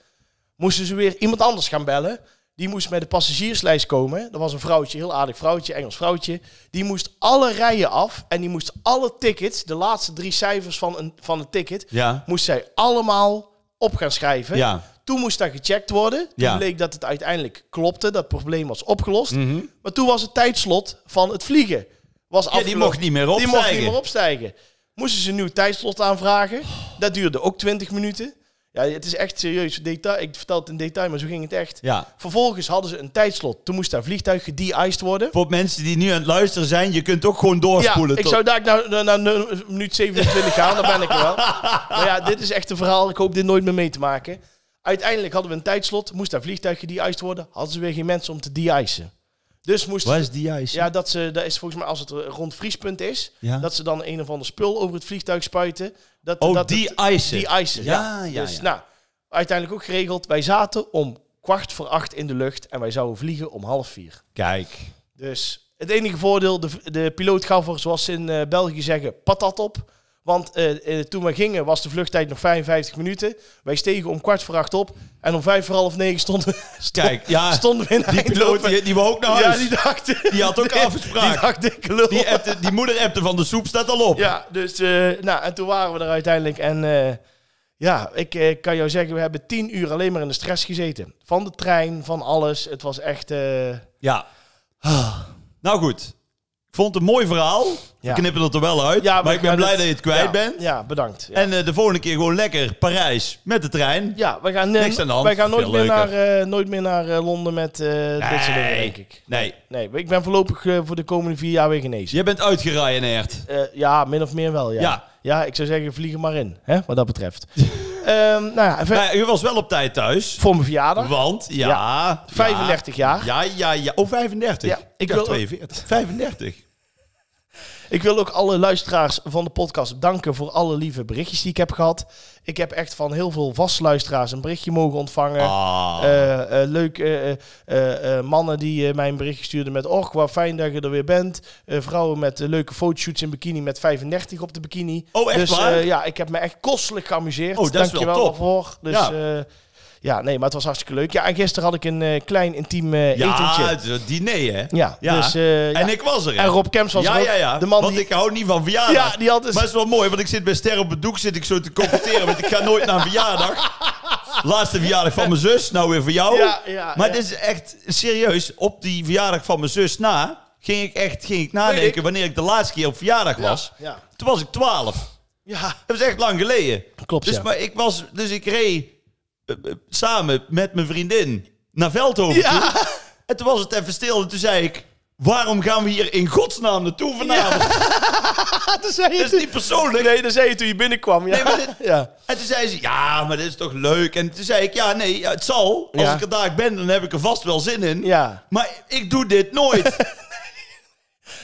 Moesten ze weer iemand anders gaan bellen. Die moest met de passagierslijst komen. Dat was een vrouwtje, heel aardig vrouwtje, Engels vrouwtje. Die moest alle rijen af. En die moest alle tickets, de laatste drie cijfers van een, van een ticket... Ja. moest zij allemaal op gaan schrijven. Ja. Toen moest dat gecheckt worden. Toen Ja. bleek dat het uiteindelijk klopte. Dat probleem was opgelost. Maar toen was het tijdslot van het vliegen. Was Mhm. ja die afgelopen. mocht niet meer Die opstijgen. mocht niet meer opstijgen. Moesten ze een nieuw tijdslot aanvragen. Dat duurde ook 20 minuten. Ja, het is echt serieus detail. Ik vertel het in detail, maar zo ging het echt. Ja. Vervolgens hadden ze een tijdslot. Toen moest dat vliegtuig gede-iced worden. Voor mensen die nu aan het luisteren zijn, je kunt ook gewoon doorspoelen. Ja, ik tot- zou daar nou, naar, naar, naar nu- minuut 27 gaan, daar ben ik er wel. Maar ja, dit is echt een verhaal. Ik hoop dit nooit meer mee te maken. Uiteindelijk hadden we een tijdslot. Moest daar vliegtuig gede-iced worden. Hadden ze weer geen mensen om te de-icen. Dus moesten... Waar is die ijs? Ja, dat, ze, dat is volgens mij als het rond vriespunt is... Ja. dat ze dan een of ander spul over het vliegtuig spuiten. Dat, oh, dat het- die ijs. die ijzer. Ja, Ja, ja, dus ja. nou, uiteindelijk ook geregeld. Wij zaten om kwart voor acht in de lucht... en wij zouden vliegen om half vier. Kijk. Dus het enige voordeel, de, de piloot gaf er, zoals ze in eh, België zeggen, patat op. Want eh, eh, toen we gingen was de vluchttijd nog 55 minuten. Wij stegen om kwart voor acht op. En om vijf voor half negen stonden, stond- Kijk, ja. stonden we in Die piloot, Eindhoven. die, die wou ook naar ja, huis. die die, dacht... had ook Die afspraak. dacht dikke lul. Die, appte- die moeder appte van de soep staat al op. Ja, dus eh, nou, en toen waren we er uiteindelijk. En eh, ja, ik eh, kan jou zeggen, we hebben tien uur alleen maar in de stress gezeten. Van de trein, van alles. Het was echt... eh, Ja. Ah. Nou goed. Ik vond het een mooi verhaal. We Ja. knippen het er wel uit. maar, ik ben we gaan blij het- dat je het kwijt ja, bent. Ja, bedankt. Ja. En eh, de volgende keer gewoon lekker Parijs met de trein. ja, we gaan, eh, Niks aan de hand. Wij gaan nooit Veel meer, naar, leuker. eh, nooit meer naar eh, Londen met eh dit soort dingen, denk ik. Nee. Nee, ik ben voorlopig eh, voor de komende vier jaar weer genezen. Jij bent uitgerijenerd. Eh, ja, min of meer wel, ja. Ja. ik zou zeggen, vlieg er maar in, hè, wat dat betreft. Ehm, nou ja, even Nou, ja, u was wel op tijd thuis. voor mijn verjaardag, Want, ja... ja 35 jaar. Ja, ja, ja. Oh, 35. Ja, ik ik dacht wil- Eh, 42. 35. Ik wil ook alle luisteraars van de podcast danken voor alle lieve berichtjes die ik heb gehad. Ik heb echt van heel veel vaste luisteraars een berichtje mogen ontvangen. Ah. Eh, eh, leuk, eh, eh, eh, eh, mannen die eh, mij een berichtje stuurden met... Och, wat fijn dat je er weer bent. Eh, vrouwen met eh, leuke fotoshoots in bikini met 35 op de bikini. Oh, echt dus, waar? eh, ja, ik heb me echt kostelijk geamuseerd. Oh, dat is wel Dankjewel top. daarvoor. Dus, Ja. ja. ja, nee, maar het was hartstikke leuk. Ja, en gisteren had ik een eh, klein intiem eh, ja, etentje. het is een diner, hè? Ja, Ja. dus... eh, ja. En ik was er. hè? En Rob Kemps was ja, er ook. ja, ja. De man want die... ik hou niet van verjaardag. Ja, die had dus... Maar het is wel mooi, want ik zit bij Ster op het Doek zit ik zo te commenteren, want ik ga nooit naar een verjaardag. Laatste verjaardag van mijn zus, nou weer voor jou. Ja, ja, maar ja. dit is echt serieus. Op die verjaardag van mijn zus na, ging ik echt ging ik nadenken Weet ik. wanneer ik de laatste keer op verjaardag was. Ja, ja. Toen was ik 12. Ja, Dat was echt lang geleden. klopt Dus, ja. maar ik was, dus ik reed eh, eh, samen met mijn vriendin naar Veldhoven. toe. Ja, En toen was het even stil en toen zei ik... Waarom gaan we hier in godsnaam naartoe vanavond? dat zei je Dat is toen. niet persoonlijk. Nee, dat zei je toen je binnenkwam. Ja. Nee, maar dit- ja. En toen zei ze, ja, maar dit is toch leuk? En toen zei ik, ja, nee, ja, het zal. Als Ja. ik er daar ben, dan heb ik er vast wel zin in. ja. Maar ik doe dit nooit.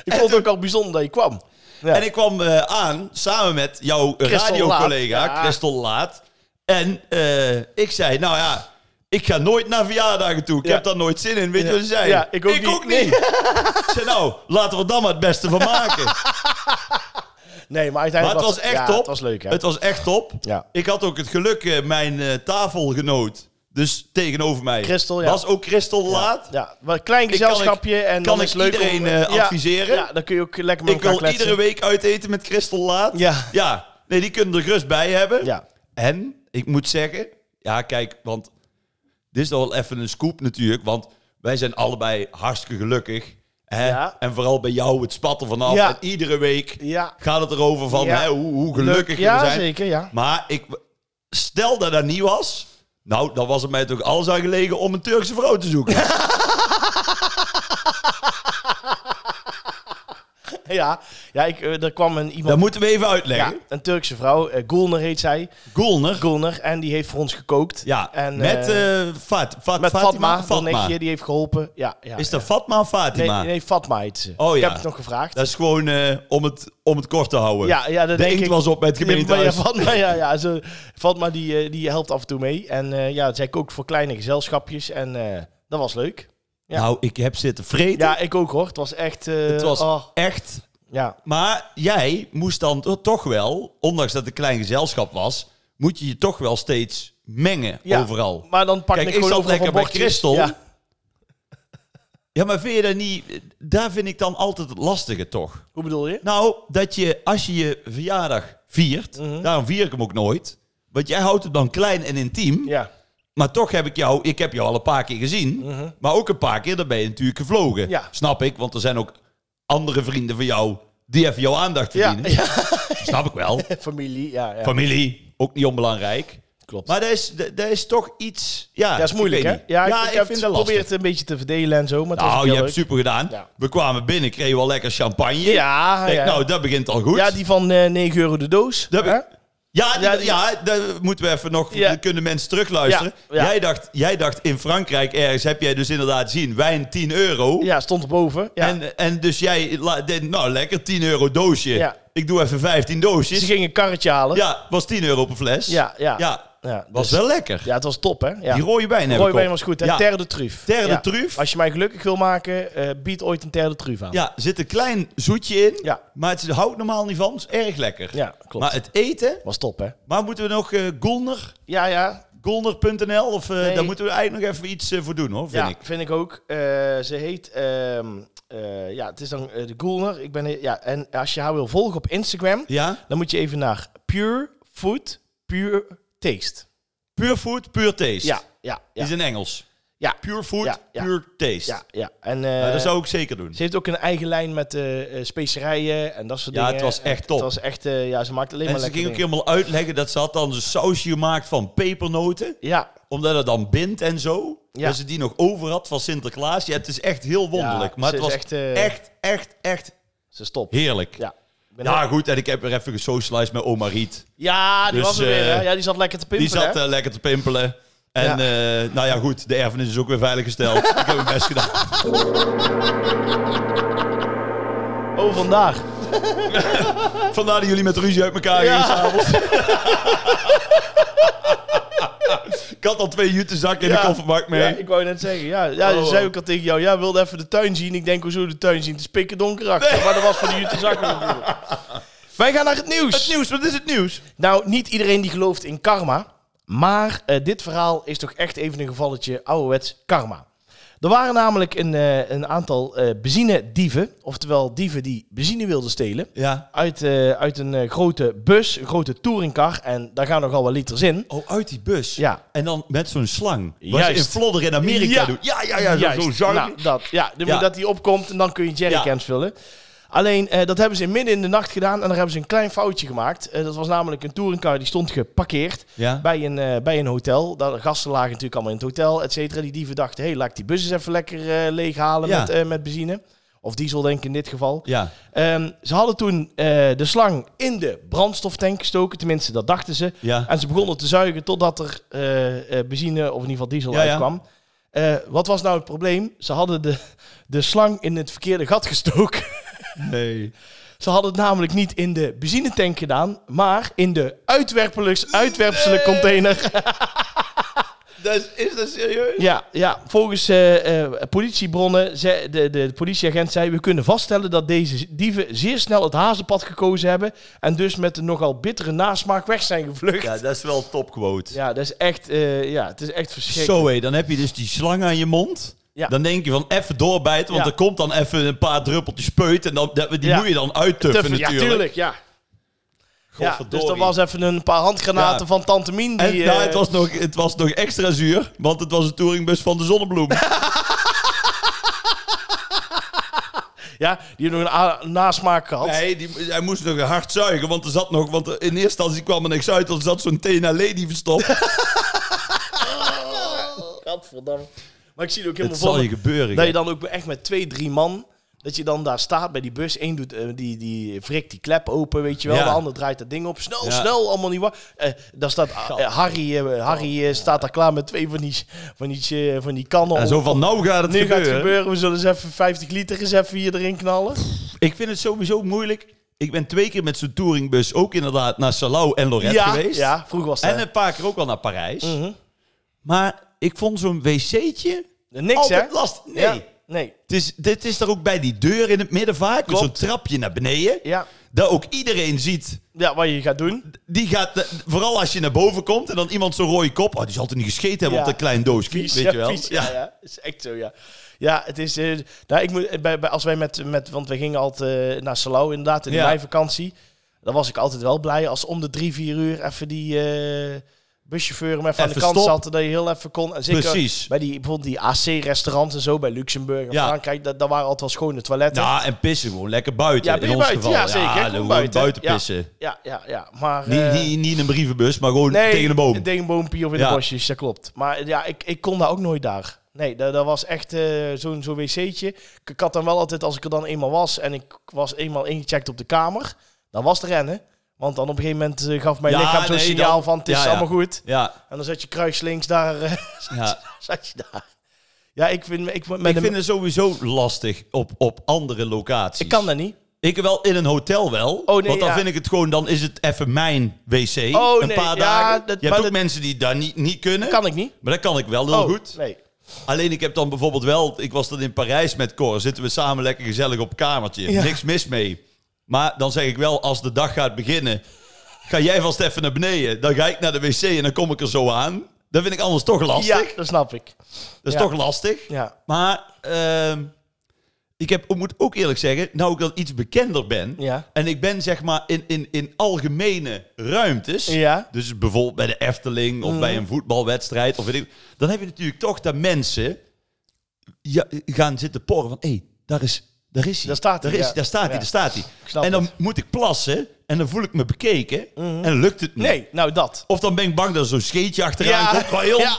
Ik vond het ook al bijzonder dat je kwam. Ja. en ik kwam eh, aan, samen met jouw Christel radiocollega, Laat. Ja. Christel Laat. En eh, ik zei, nou ja, ik ga nooit naar verjaardagen toe. Ik Ja. heb daar nooit zin in. Weet je Ja. wat ze zei? Ja, ik ook niet. niet. ik zei, nou, laten we er dan maar het beste van maken. nee, maar uiteindelijk Maar het was echt ja, top. Het was leuk, hè? Het was echt top. Ja. Ik had ook het geluk, eh, mijn eh, tafelgenoot, dus tegenover mij, Christel, ja. was ook Christel Laat. Ja, wel een klein Ik kan gezelschapje. en kan dan ik is het leuk iedereen, om, eh, eh, adviseren? Ja, dan kun je ook lekker met Ik elkaar wil kletsen. iedere week uiteten met Christel Laat. Ja. nee, die kunnen er gerust bij hebben. Ja, En ik moet zeggen, ja, kijk, want dit is al even een scoop natuurlijk, want wij zijn allebei hartstikke gelukkig. Hè? Ja. En vooral bij jou, het spat er vanaf. Ja. En iedere week ja. gaat het erover van Ja. hè, hoe, hoe gelukkig ja, we zijn. zeker, ja. Maar ik, stel dat dat niet was. Nou, dan was het mij toch alles aan gelegen om een Turkse vrouw te zoeken. Ja, ja ik, eh, er kwam een iemand... dat moeten we even uitleggen. ja, een Turkse vrouw, eh, Gulner heet zij. Gulner. Gulner, en die heeft voor ons gekookt. Ja, En, met, eh, eh, Fat, Fat- met Fatima. Fatma, Fatma. die heeft geholpen. Ja, ja, Is ja. dat Fatma of Nee, Fatima? nee, Fatma heet ze. Oh, Ik ja. heb het nog gevraagd. Dat is gewoon eh, om, het, om het kort te houden. Ja, ja, dat de denk inkt ik. was op bij het Ja, maar ja, gemeentehuis. Fatma, ja, ja, zo, Fatma die, eh, die helpt af en toe mee. En eh, ja, zij kookt voor kleine gezelschapjes. En eh, dat was leuk. ja. Nou, ik heb zitten vreten. Ja, ik ook hoor. Het was echt... eh, het was oh, echt... ja. Maar jij moest dan to- toch wel, ondanks dat het een klein gezelschap was, moet je je toch wel steeds mengen Ja. overal. Maar dan pak Kijk, ik ik gewoon zat overal lekker van bij bordjes. Christel. Ja. Ja, maar vind je dat niet... Daar vind ik dan altijd het lastige, toch? Hoe bedoel je? Nou, dat je als je je verjaardag viert... Mhm. Daarom vier ik hem ook nooit. Want jij houdt het dan klein en intiem. Ja. Maar toch heb ik jou... Ik heb jou al een paar keer gezien. Mhm. Maar ook een paar keer, daar ben je natuurlijk gevlogen. Ja. Snap ik, want er zijn ook andere vrienden van jou... die even jouw aandacht Ja, verdienen. Snap ik wel. Familie, ja. ja. Familie, ook niet onbelangrijk. Klopt. Maar dat is, dat dat is toch iets... Ja, ja, dat is ik moeilijk, weet hè? niet. Ja, ik, ik heb vind het dat geprobeerd lastig. het een beetje te verdelen en zo, maar het was ook Nou, je heel hebt leuk. super gedaan. Ja. We kwamen binnen, kregen we al lekker champagne. Ja, Denk, ja. nou, dat begint al goed. ja, die van eh 9 euro de doos. Dat hè? heb ja, die- ja, die- ja, daar moeten we even nog... Ja. dan Kunnen mensen terugluisteren. Ja, ja. Jij, dacht, jij dacht in Frankrijk ergens, heb jij dus inderdaad zien, wijn 10 euro. Ja, stond erboven. Ja. En, en dus jij la- denkt, nou lekker, 10 euro doosje. Ja. Ik doe even 15 Ze doosjes. gingen een karretje halen. Ja, was 10 euro per fles. ja. ja. Ja, Ja, was dus- wel lekker. Ja, het was top, hè? Ja. Die rode wijn heb Roy ik Been op. was goed. En Ja. Terre de Truuf. Terre de Ja. Truuf. Als je mij gelukkig wil maken, eh, bied ooit een Terre de Truuf aan. Ja, zit een klein zoetje in. Ja. Maar het houdt normaal niet van. is erg lekker. Ja, klopt. Maar het eten... Was top, hè? Maar moeten we nog eh Golner? Ja, ja. Golner.nl? Of eh, Nee. daar moeten we eigenlijk nog even iets eh, voor doen, hoor, vind ja, ik. vind ik ook. Eh, ze heet... ehm, eh, ja, het is dan eh, de Goelner. Ik ben... Ja, en als je haar wil volgen op Instagram, Ja? dan moet je even naar Pure Food Pure Taste. Pure food, pure taste. Ja, ja, ja. Is in Engels. Ja. Pure food, Ja, ja. pure taste. Ja, ja. En, eh, Nou, dat zou ik zeker doen. Ze heeft ook een eigen lijn met eh, eh, specerijen en dat soort Ja, dingen. het was En echt top. Het was echt, eh, ja, ze maakt alleen En maar ze lekker ging ook dingen. helemaal uitleggen dat ze had dan een sausje gemaakt van pepernoten. Ja, Omdat het dan bindt en zo. Ja. Dat ze die nog over had van Sinterklaas. Ja, het is echt heel Ja, wonderlijk. maar ze het is was echt, echt, eh, echt, echt, ze is top. heerlijk. Ja, Ja. Ik ben heel- goed. En ik heb weer even gesocialized met oma Riet. ja, die Dus, was er weer. hè. eh, ja, die zat lekker te Die pimpelen. zat hè. eh, lekker te pimpelen. En Ja. eh, nou ja, goed. De erfenis is ook weer veiliggesteld. ik heb mijn best gedaan. eh, Oh, vandaag. Vandaar dat jullie met ruzie uit elkaar Ja. gingen s'avonds. ik had al twee jute zakken in Ja. de kofferbak mee. Ja, ik wou net zeggen, ja, ja Oh, ze zei oh. ook al tegen jou, ja, wilde even de tuin zien. Ik denk, hoezo de tuin zien? Het is pikken donker achter. Maar dat was voor de jute zakken natuurlijk. Wij gaan naar het nieuws. Het nieuws, wat is het nieuws? Nou, niet iedereen die gelooft in karma. Maar eh, dit verhaal is toch echt even een gevalletje ouderwets karma. Er waren namelijk een, eh, een aantal eh benzinedieven, oftewel dieven die benzine wilden stelen, Ja. uit, eh, uit een eh, grote bus, een grote touringcar. En daar gaan nogal wat liters in. Oh, uit die bus. Ja. En dan met zo'n slang. Wat je Juist. in Vlodder in Amerika Ja. doet. Ja, Ah, ja, ja. Zo, Juist. zo zang. Nou, dat, ja, dan Ja. moet dat die opkomt en dan kun je jerrycans vullen. Alleen, eh, dat hebben ze in midden in de nacht gedaan en daar hebben ze een klein foutje gemaakt. Eh, dat was namelijk een touringcar die stond geparkeerd ja. bij een, eh, bij een hotel. Daar, gasten lagen natuurlijk allemaal in het hotel, et cetera. Die dieven dachten, hé, hey, laat ik die bus eens even lekker eh, leeghalen Ja. met, eh, met benzine. Of diesel, denk ik in dit geval. Ja. Ehm, ze hadden toen eh, de slang in de brandstoftank gestoken. Tenminste, dat dachten ze. Ja. En ze begonnen te zuigen totdat er eh, eh, benzine of in ieder geval diesel Ja, ja. uitkwam. Eh, wat was nou het probleem? Ze hadden de, de slang in het verkeerde gat gestoken. Nee. Ze hadden het namelijk niet in de benzinetank gedaan, maar in de uitwerpelijks uitwerpsele container. Dat is dat serieus? Ja, ja volgens eh, eh, politiebronnen, ze, de, de, de politieagent zei... we kunnen vaststellen dat deze dieven zeer snel het hazenpad gekozen hebben... en dus met een nogal bittere nasmaak weg zijn gevlucht. Ja, Ja, dat is wel topquote. dat is echt, eh, ja, het is echt verschrikkelijk. Zo hé, dan heb je dus die slang aan je mond. Ja. Dan denk je van even doorbijten, want Ja. er komt dan even een paar druppeltjes speut. En dan, dat- die Ja. moet je dan uittuffen Tuffen, natuurlijk. Ja, tuurlijk, ja. ja. Godverdorie. Dus dat was even een paar handgranaten Ja. van Tante Mien. Die, En nou, eh, het, was nog, het was nog extra zuur, want het was een touringbus van de Zonnebloem. ja, die hebben nog een a- nasmaak gehad. Nee, die, hij moest nog hard zuigen, want er zat nog... Want er- in eerste instantie kwam er niks uit, want er zat zo'n Tena Lady verstopt. Gadverdamme. Maar ik zie het ook Het helemaal voor zal me. je gebeuren. Dat je dan ook echt met twee, drie man... dat je dan daar staat bij die bus. Eén doet, eh, die, die wrikt die klep open, weet je wel. Ja. De ander draait dat ding op. Snel, Ja. snel, allemaal niet waar. Eh, daar staat eh, eh, Harry, eh, Harry eh, staat daar klaar met twee van die, van die, eh, van die kannen. en om- zo van, nou gaat het nu gaat gebeuren. het gebeuren, we zullen eens even 50 liter eens even hier erin knallen. Ik vind het sowieso moeilijk. Ik ben twee keer met zo'n touringbus ook inderdaad naar Salau en Lorette ja, geweest. ja, vroeger was dat. En een paar keer ook wel naar Parijs. Mhm. Maar ik vond zo'n wc'tje Eh, Niks, hè? altijd last. Nee. Ja, nee, Het is, dit is daar ook bij die deur in het midden vaak. met Zo'n Klopt. trapje naar beneden. ja. Dat ook iedereen ziet. Ja, wat je gaat doen. Die gaat, eh, vooral als je naar boven komt en dan iemand zo'n rode kop. Oh, die zal toch niet gescheten hebben Ja. op dat klein doosje. Vies, weet ja, je wel? vies, ja, ja. Is echt zo, ja. Ja, het is... eh, nou, ik moet, eh, bij, bij, als wij met, met... Want wij gingen altijd eh, naar Salau inderdaad, in Ja. mijn vakantie. Dan was ik altijd wel blij als om de drie, vier uur even die eh, buschauffeur hem even, aan de Even kant stop. zat. Dat je heel even kon. En zeker Precies. bij die, bijvoorbeeld die AC-restaurants en zo, bij Luxemburg en Ja. Nou. Frankrijk. Dat, daar waren altijd wel schone toiletten. Ja, en pissen gewoon. Lekker buiten. Ja, in ben je ons buiten? geval. Ja, zeker. dan Gewoon gewoon buiten. buiten, Ja. pissen. Ja, ja, ja. Maar... Niet, eh, niet, niet in een brievenbus, maar gewoon nee, tegen een boom. Tegen een boompje of in Ja. de bosjes, dat klopt. Maar ja, ik, ik kon daar ook nooit daar. Nee, dat, dat was echt eh, zo'n zo'n wc'tje. Ik, ik had dan wel altijd, als ik er dan eenmaal was en ik was eenmaal ingecheckt op de kamer, dan was het rennen. Want dan op een gegeven moment eh, gaf mijn Ja, lichaam zo'n nee, signaal dan- van het is ja, ja. allemaal goed. Ja, En dan zat je kruislinks daar. eh, ja. zat je daar. Ja, ik vind, ik, met Ik een- vind het sowieso lastig op, op andere locaties. ik kan dat niet. Ik wel in een hotel wel. Oh, nee, want dan ja. vind ik het gewoon, dan is het even mijn wc. Oh, een nee, ja, paar dagen. dat- je hebt maar ook dat- mensen die daar niet, niet kunnen. Kan ik niet. Maar dat kan ik wel heel Oh, goed. Nee. Alleen ik heb dan bijvoorbeeld wel... Ik was dan in Parijs met Cor. Zitten we samen lekker gezellig op een kamertje. Ja. Niks mis mee. Maar dan zeg ik wel, als de dag gaat beginnen... Ga jij vast even naar beneden. Dan ga ik naar de wc en dan kom ik er zo aan. Dat vind ik anders toch lastig. Ja, dat snap ik. Dat is ja. toch lastig. Ja. Maar ehm, ik heb, ik moet ook eerlijk zeggen, nou ik al iets bekender ben. Ja. En ik ben zeg maar in, in, in algemene ruimtes. Ja. Mhm. Dus bijvoorbeeld bij de Efteling of bij een voetbalwedstrijd. Of weet ik, dan heb je natuurlijk toch dat mensen ja, gaan zitten porren van... Hé, hey, daar is... Daar is hij. Daar staat hij, Daar, is, ja. daar staat hij, Ja. daar staat hij. snap En dan het. Mhm. moet ik plassen en dan voel ik me bekeken en lukt het niet. Nee, nou dat. Of dan ben ik bang dat er zo'n scheetje achteraan Ja. komt, waar heel, Ja.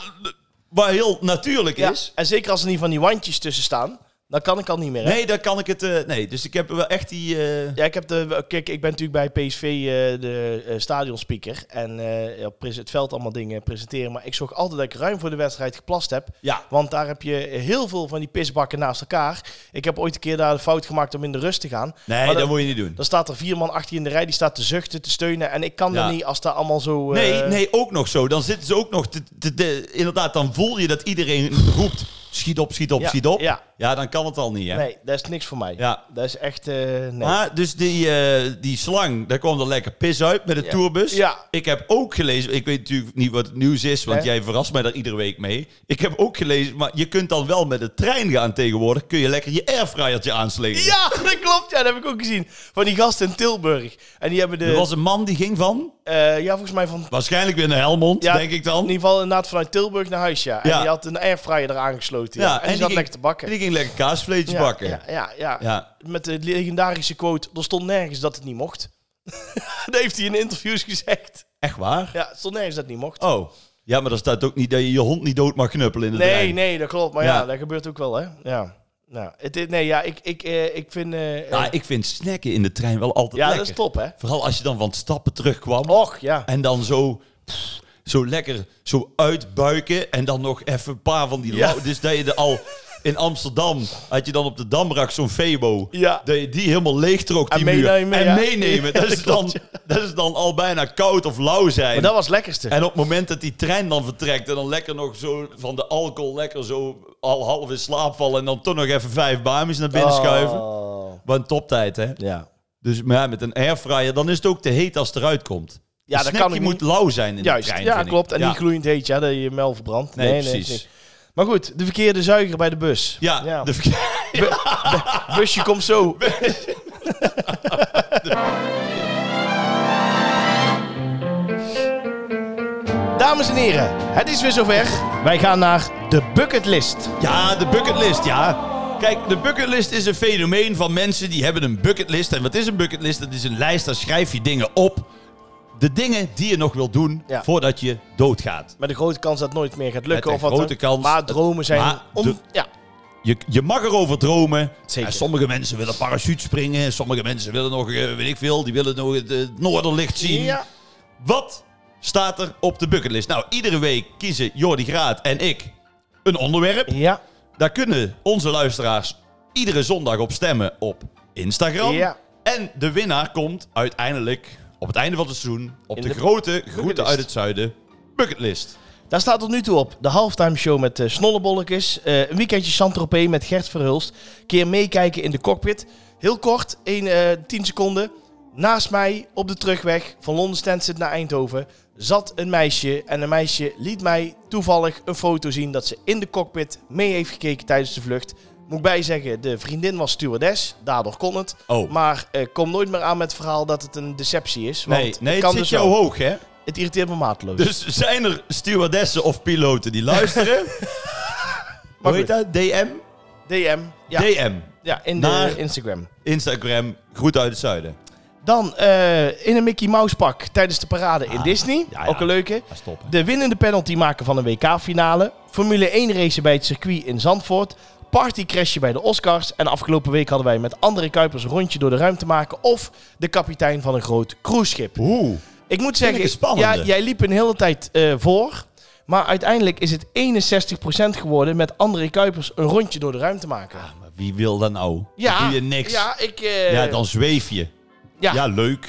waar heel natuurlijk Ja. is. En zeker als er niet van die wandjes tussen staan, dan kan ik al niet meer. Hè? Nee, dan kan ik het... eh, nee, dus ik heb wel echt die... eh, Ja, ik heb de. Kijk, ik ben natuurlijk bij PSV eh, de eh, stadionspeaker. En eh, op pres- het veld allemaal dingen presenteren. Maar ik zorg altijd dat ik ruim voor de wedstrijd geplast heb. ja. Want daar heb je heel veel van die pisbakken naast elkaar. Ik heb ooit een keer daar de fout gemaakt om in de rust te gaan. Nee, Maar dat, moet je niet doen. Dan staat er vier man achter je in de rij, die staat te zuchten, te steunen. En ik kan Ja. dat niet als dat allemaal zo... eh, Nee, nee, ook nog zo. Dan zitten ze ook nog... Te, te- te- inderdaad, dan voel je dat iedereen roept... Schiet op, schiet op, Ja, schiet op. ja. dan kan het al niet, hè? Nee, dat is niks voor mij. Ja. Dat is echt... eh, nee. Maar dus die, eh, die slang, daar kwam er lekker pis uit met de Ja. tourbus. Ja. Ik heb ook gelezen, ik weet natuurlijk niet wat het nieuws is, want Nee. jij verrast mij daar iedere week mee. Ik heb ook gelezen, maar je kunt dan wel met de trein gaan tegenwoordig, kun je lekker je airfryertje aanslingeren. Ja, dat klopt. Ja, dat heb ik ook gezien. Van die gasten in Tilburg. En die hebben de... Er was een man die ging van, eh, ja, volgens mij van... waarschijnlijk weer naar Helmond, Ja, denk ik In dan. ieder geval inderdaad vanuit Tilburg naar huis, ja. En Ja. die had een airfryer eraan gesloten. Ja. En, die zat ging- lekker te bakken. En die ging lekker kaasvleetjes Ja, bakken. Ja, ja, ja. Ja. Met de legendarische quote, er stond nergens dat het niet mocht. dat heeft hij in interviews gezegd. Echt waar? Ja, het stond nergens dat het niet mocht. Oh. Ja, maar dan staat ook niet dat je je hond niet dood mag knuppelen in de Nee, trein. nee, dat klopt. Maar ja, Ja. dat gebeurt ook wel, hè? Ja. Nou, het, is- nee, ja, ik, ik, eh, ik vind... eh, eh, Nou, ik vind snacken in de trein wel altijd ja, lekker. dat is top, Oh, hè? Vooral als je dan van het stappen terugkwam. Och, ja. En dan zo, pff, zo lekker zo uitbuiken. En dan nog even een paar van die... Ja. lau- Dus dat je er al... In Amsterdam had je dan op de Damrak zo'n Febo. Ja. Dat je die helemaal leeg trok, die En muur. meenemen, en ja. meenemen. Dat, Ja, is dat klopt, dan, dat is dan al bijna koud of lauw zijn. Maar dat was het lekkerste. En op het moment dat die trein dan vertrekt en dan lekker nog zo van de alcohol lekker zo al half in slaap vallen en dan toch nog even vijf bamies naar Ah. binnen schuiven. Oh. Wat een toptijd, hè? Ja. Dus maar ja, met een airfryer, dan is het ook te heet als het eruit komt. Ja, Ja, dat dat kan ook moet lauw zijn in Juist, de trein, ja, vind ik. klopt. En ja. niet gloeiend heet, ja, dat je mel verbrandt. Nee, dat is precies. niks. Maar goed, de verkeerde zuiger bij de bus. Ja, de verkeer- busje komt zo. Dames en heren, het is weer zover. Wij gaan naar de bucketlist. ja, de bucketlist, ja. Kijk, de bucketlist is een fenomeen van mensen die hebben een bucketlist. En wat is een bucketlist? Dat is een lijst, daar schrijf je dingen op. De dingen die je nog wil doen Ja. voordat je doodgaat. Met een grote kans dat het nooit meer gaat lukken. Met een of wat grote dan. kans. Maar dromen zijn... Maar on- de- Ja, Je, je mag erover dromen. Zeker. En sommige mensen willen parachute springen. en Sommige mensen willen nog, eh, weet ik veel, die willen nog het, eh, noorderlicht zien. ja. Wat staat er op de bucketlist? Nou, iedere week kiezen Jordi Graat en ik een onderwerp. Ja. Daar kunnen onze luisteraars iedere zondag op stemmen op Instagram. Ja. En de winnaar komt uiteindelijk op het einde van het seizoen op In de, de grote groeten bucketlist. uit het zuiden bucketlist. Daar staat tot nu toe op de halftime show met eh Snollebolletjes. eh, een weekendje Saint-Tropez met Gert Verhulst. Keer meekijken in de cockpit. Heel kort, 1, 10 seconden. Naast mij op de terugweg van Londen Stansted naar Eindhoven zat een meisje. En een meisje liet mij toevallig een foto zien dat ze in de cockpit mee heeft gekeken tijdens de vlucht. Moet ik bijzeggen, de vriendin was stewardess, daardoor kon het. Oh. Maar eh, kom nooit meer aan met het verhaal dat het een deceptie is. Want nee, het nee, het, kan zit dus jou wel. hoog, hè? Het irriteert me mateloos. Dus zijn er stewardessen of piloten die luisteren? Maar Hoe heet dat? DM? DM, ja, DM. ja in de Naar- Instagram. Instagram, groeten uit het zuiden. Dan eh, in een Mickey Mouse pak tijdens de parade in Ah, Disney. ja, ja. Ook een leuke. Ah, stop. hè. De winnende penalty maken van een WK-finale. Formule 1 race bij het circuit in Zandvoort. Partycrashje bij de Oscars. En afgelopen week hadden wij met andere Kuipers een rondje door de ruimte maken. Of de kapitein van een groot cruiseschip. Oeh. Ik moet Vind zeggen, ik een spannende. Ja, jij liep een hele tijd eh, voor. Maar uiteindelijk is het 61% geworden met André Kuipers een rondje door de ruimte maken. Ah, maar wie wil dat nou? Dan doe je niks. Ja, Ja, ik... eh, dan zweef je. Ja. Ja, leuk.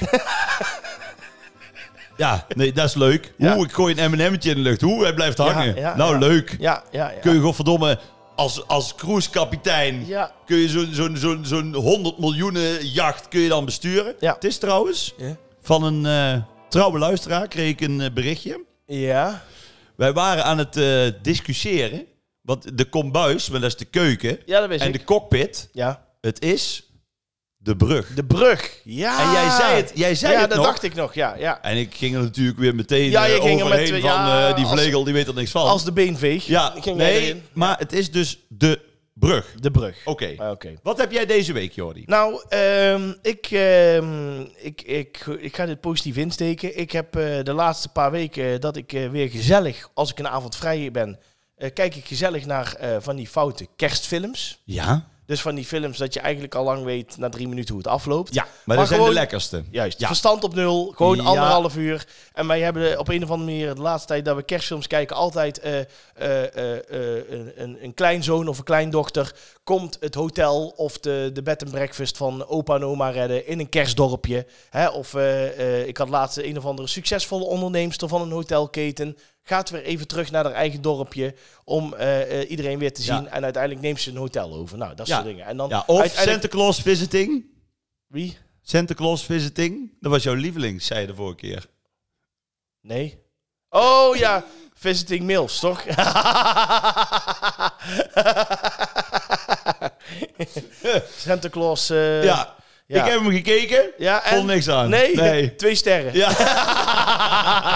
ja, nee, dat is leuk. Ja. Oeh, ik gooi een M&M'tje in de lucht. Oeh, hij blijft hangen. ja, nou, ja. leuk. Ja, ja, ja. Kun je godverdomme als, als cruisekapitein... Ja. Kun je zo'n zo'n zo'n zo'n 100 miljoenen jacht kun je dan besturen? Ja. Het is trouwens Ja. van een eh, trouwe luisteraar kreeg ik een eh, berichtje. Ja. Wij waren aan het eh, discussiëren. Want de kombuis, maar dat is de keuken. Ja, dat wist en ik. de cockpit. Ja. Het is de brug. De brug. Ja. En jij zei het, jij zei Ah. ja, het dat nog. dacht ik nog. Ja, ja. En ik ging er natuurlijk weer meteen Ja, eh, je ging er overheen met- van ja, eh, die als- vlegel, die weet er niks van. Als de beenveeg. ja, ging jij nee, Oh, erin. maar het is dus de brug. De brug. Ah, Oké. Oké. Wat heb jij deze week, Jordi? Nou, ehm, ik, ehm, ik, ik, ik ga dit positief insteken. Ik heb eh, de laatste paar weken dat ik eh, weer gezellig, als ik een avond vrij ben, eh, kijk ik gezellig naar eh, van die foute kerstfilms. Ja. Dus van die films dat je eigenlijk al lang weet na drie minuten hoe het afloopt. Ja, maar, dat zijn gewoon- de lekkerste. Juist, Ja. verstand op nul, gewoon Ja. anderhalf uur. En wij hebben op een of andere manier de laatste tijd dat we kerstfilms kijken, altijd eh, eh, eh, eh, een, een, een kleinzoon of een kleindochter komt het hotel of de, de bed and breakfast van opa en oma redden in een kerstdorpje. Hè? Of eh, eh, ik had laatst een of andere succesvolle onderneemster van een hotelketen. Gaat weer even terug naar haar eigen dorpje om eh, eh, iedereen weer te Ja. zien. En uiteindelijk neemt ze een hotel over. Nou, dat Ja. soort dingen. En dan Ja, of uiteindelijk- Santa Claus Visiting. Wie? Santa Claus Visiting. Dat was jouw lieveling, zei je de vorige keer. Nee. Oh ja, visiting mails, toch? Santa Claus. eh, ja. ja. ik heb hem gekeken. ja, en- Vond niks aan. Nee, nee. twee sterren. Ja.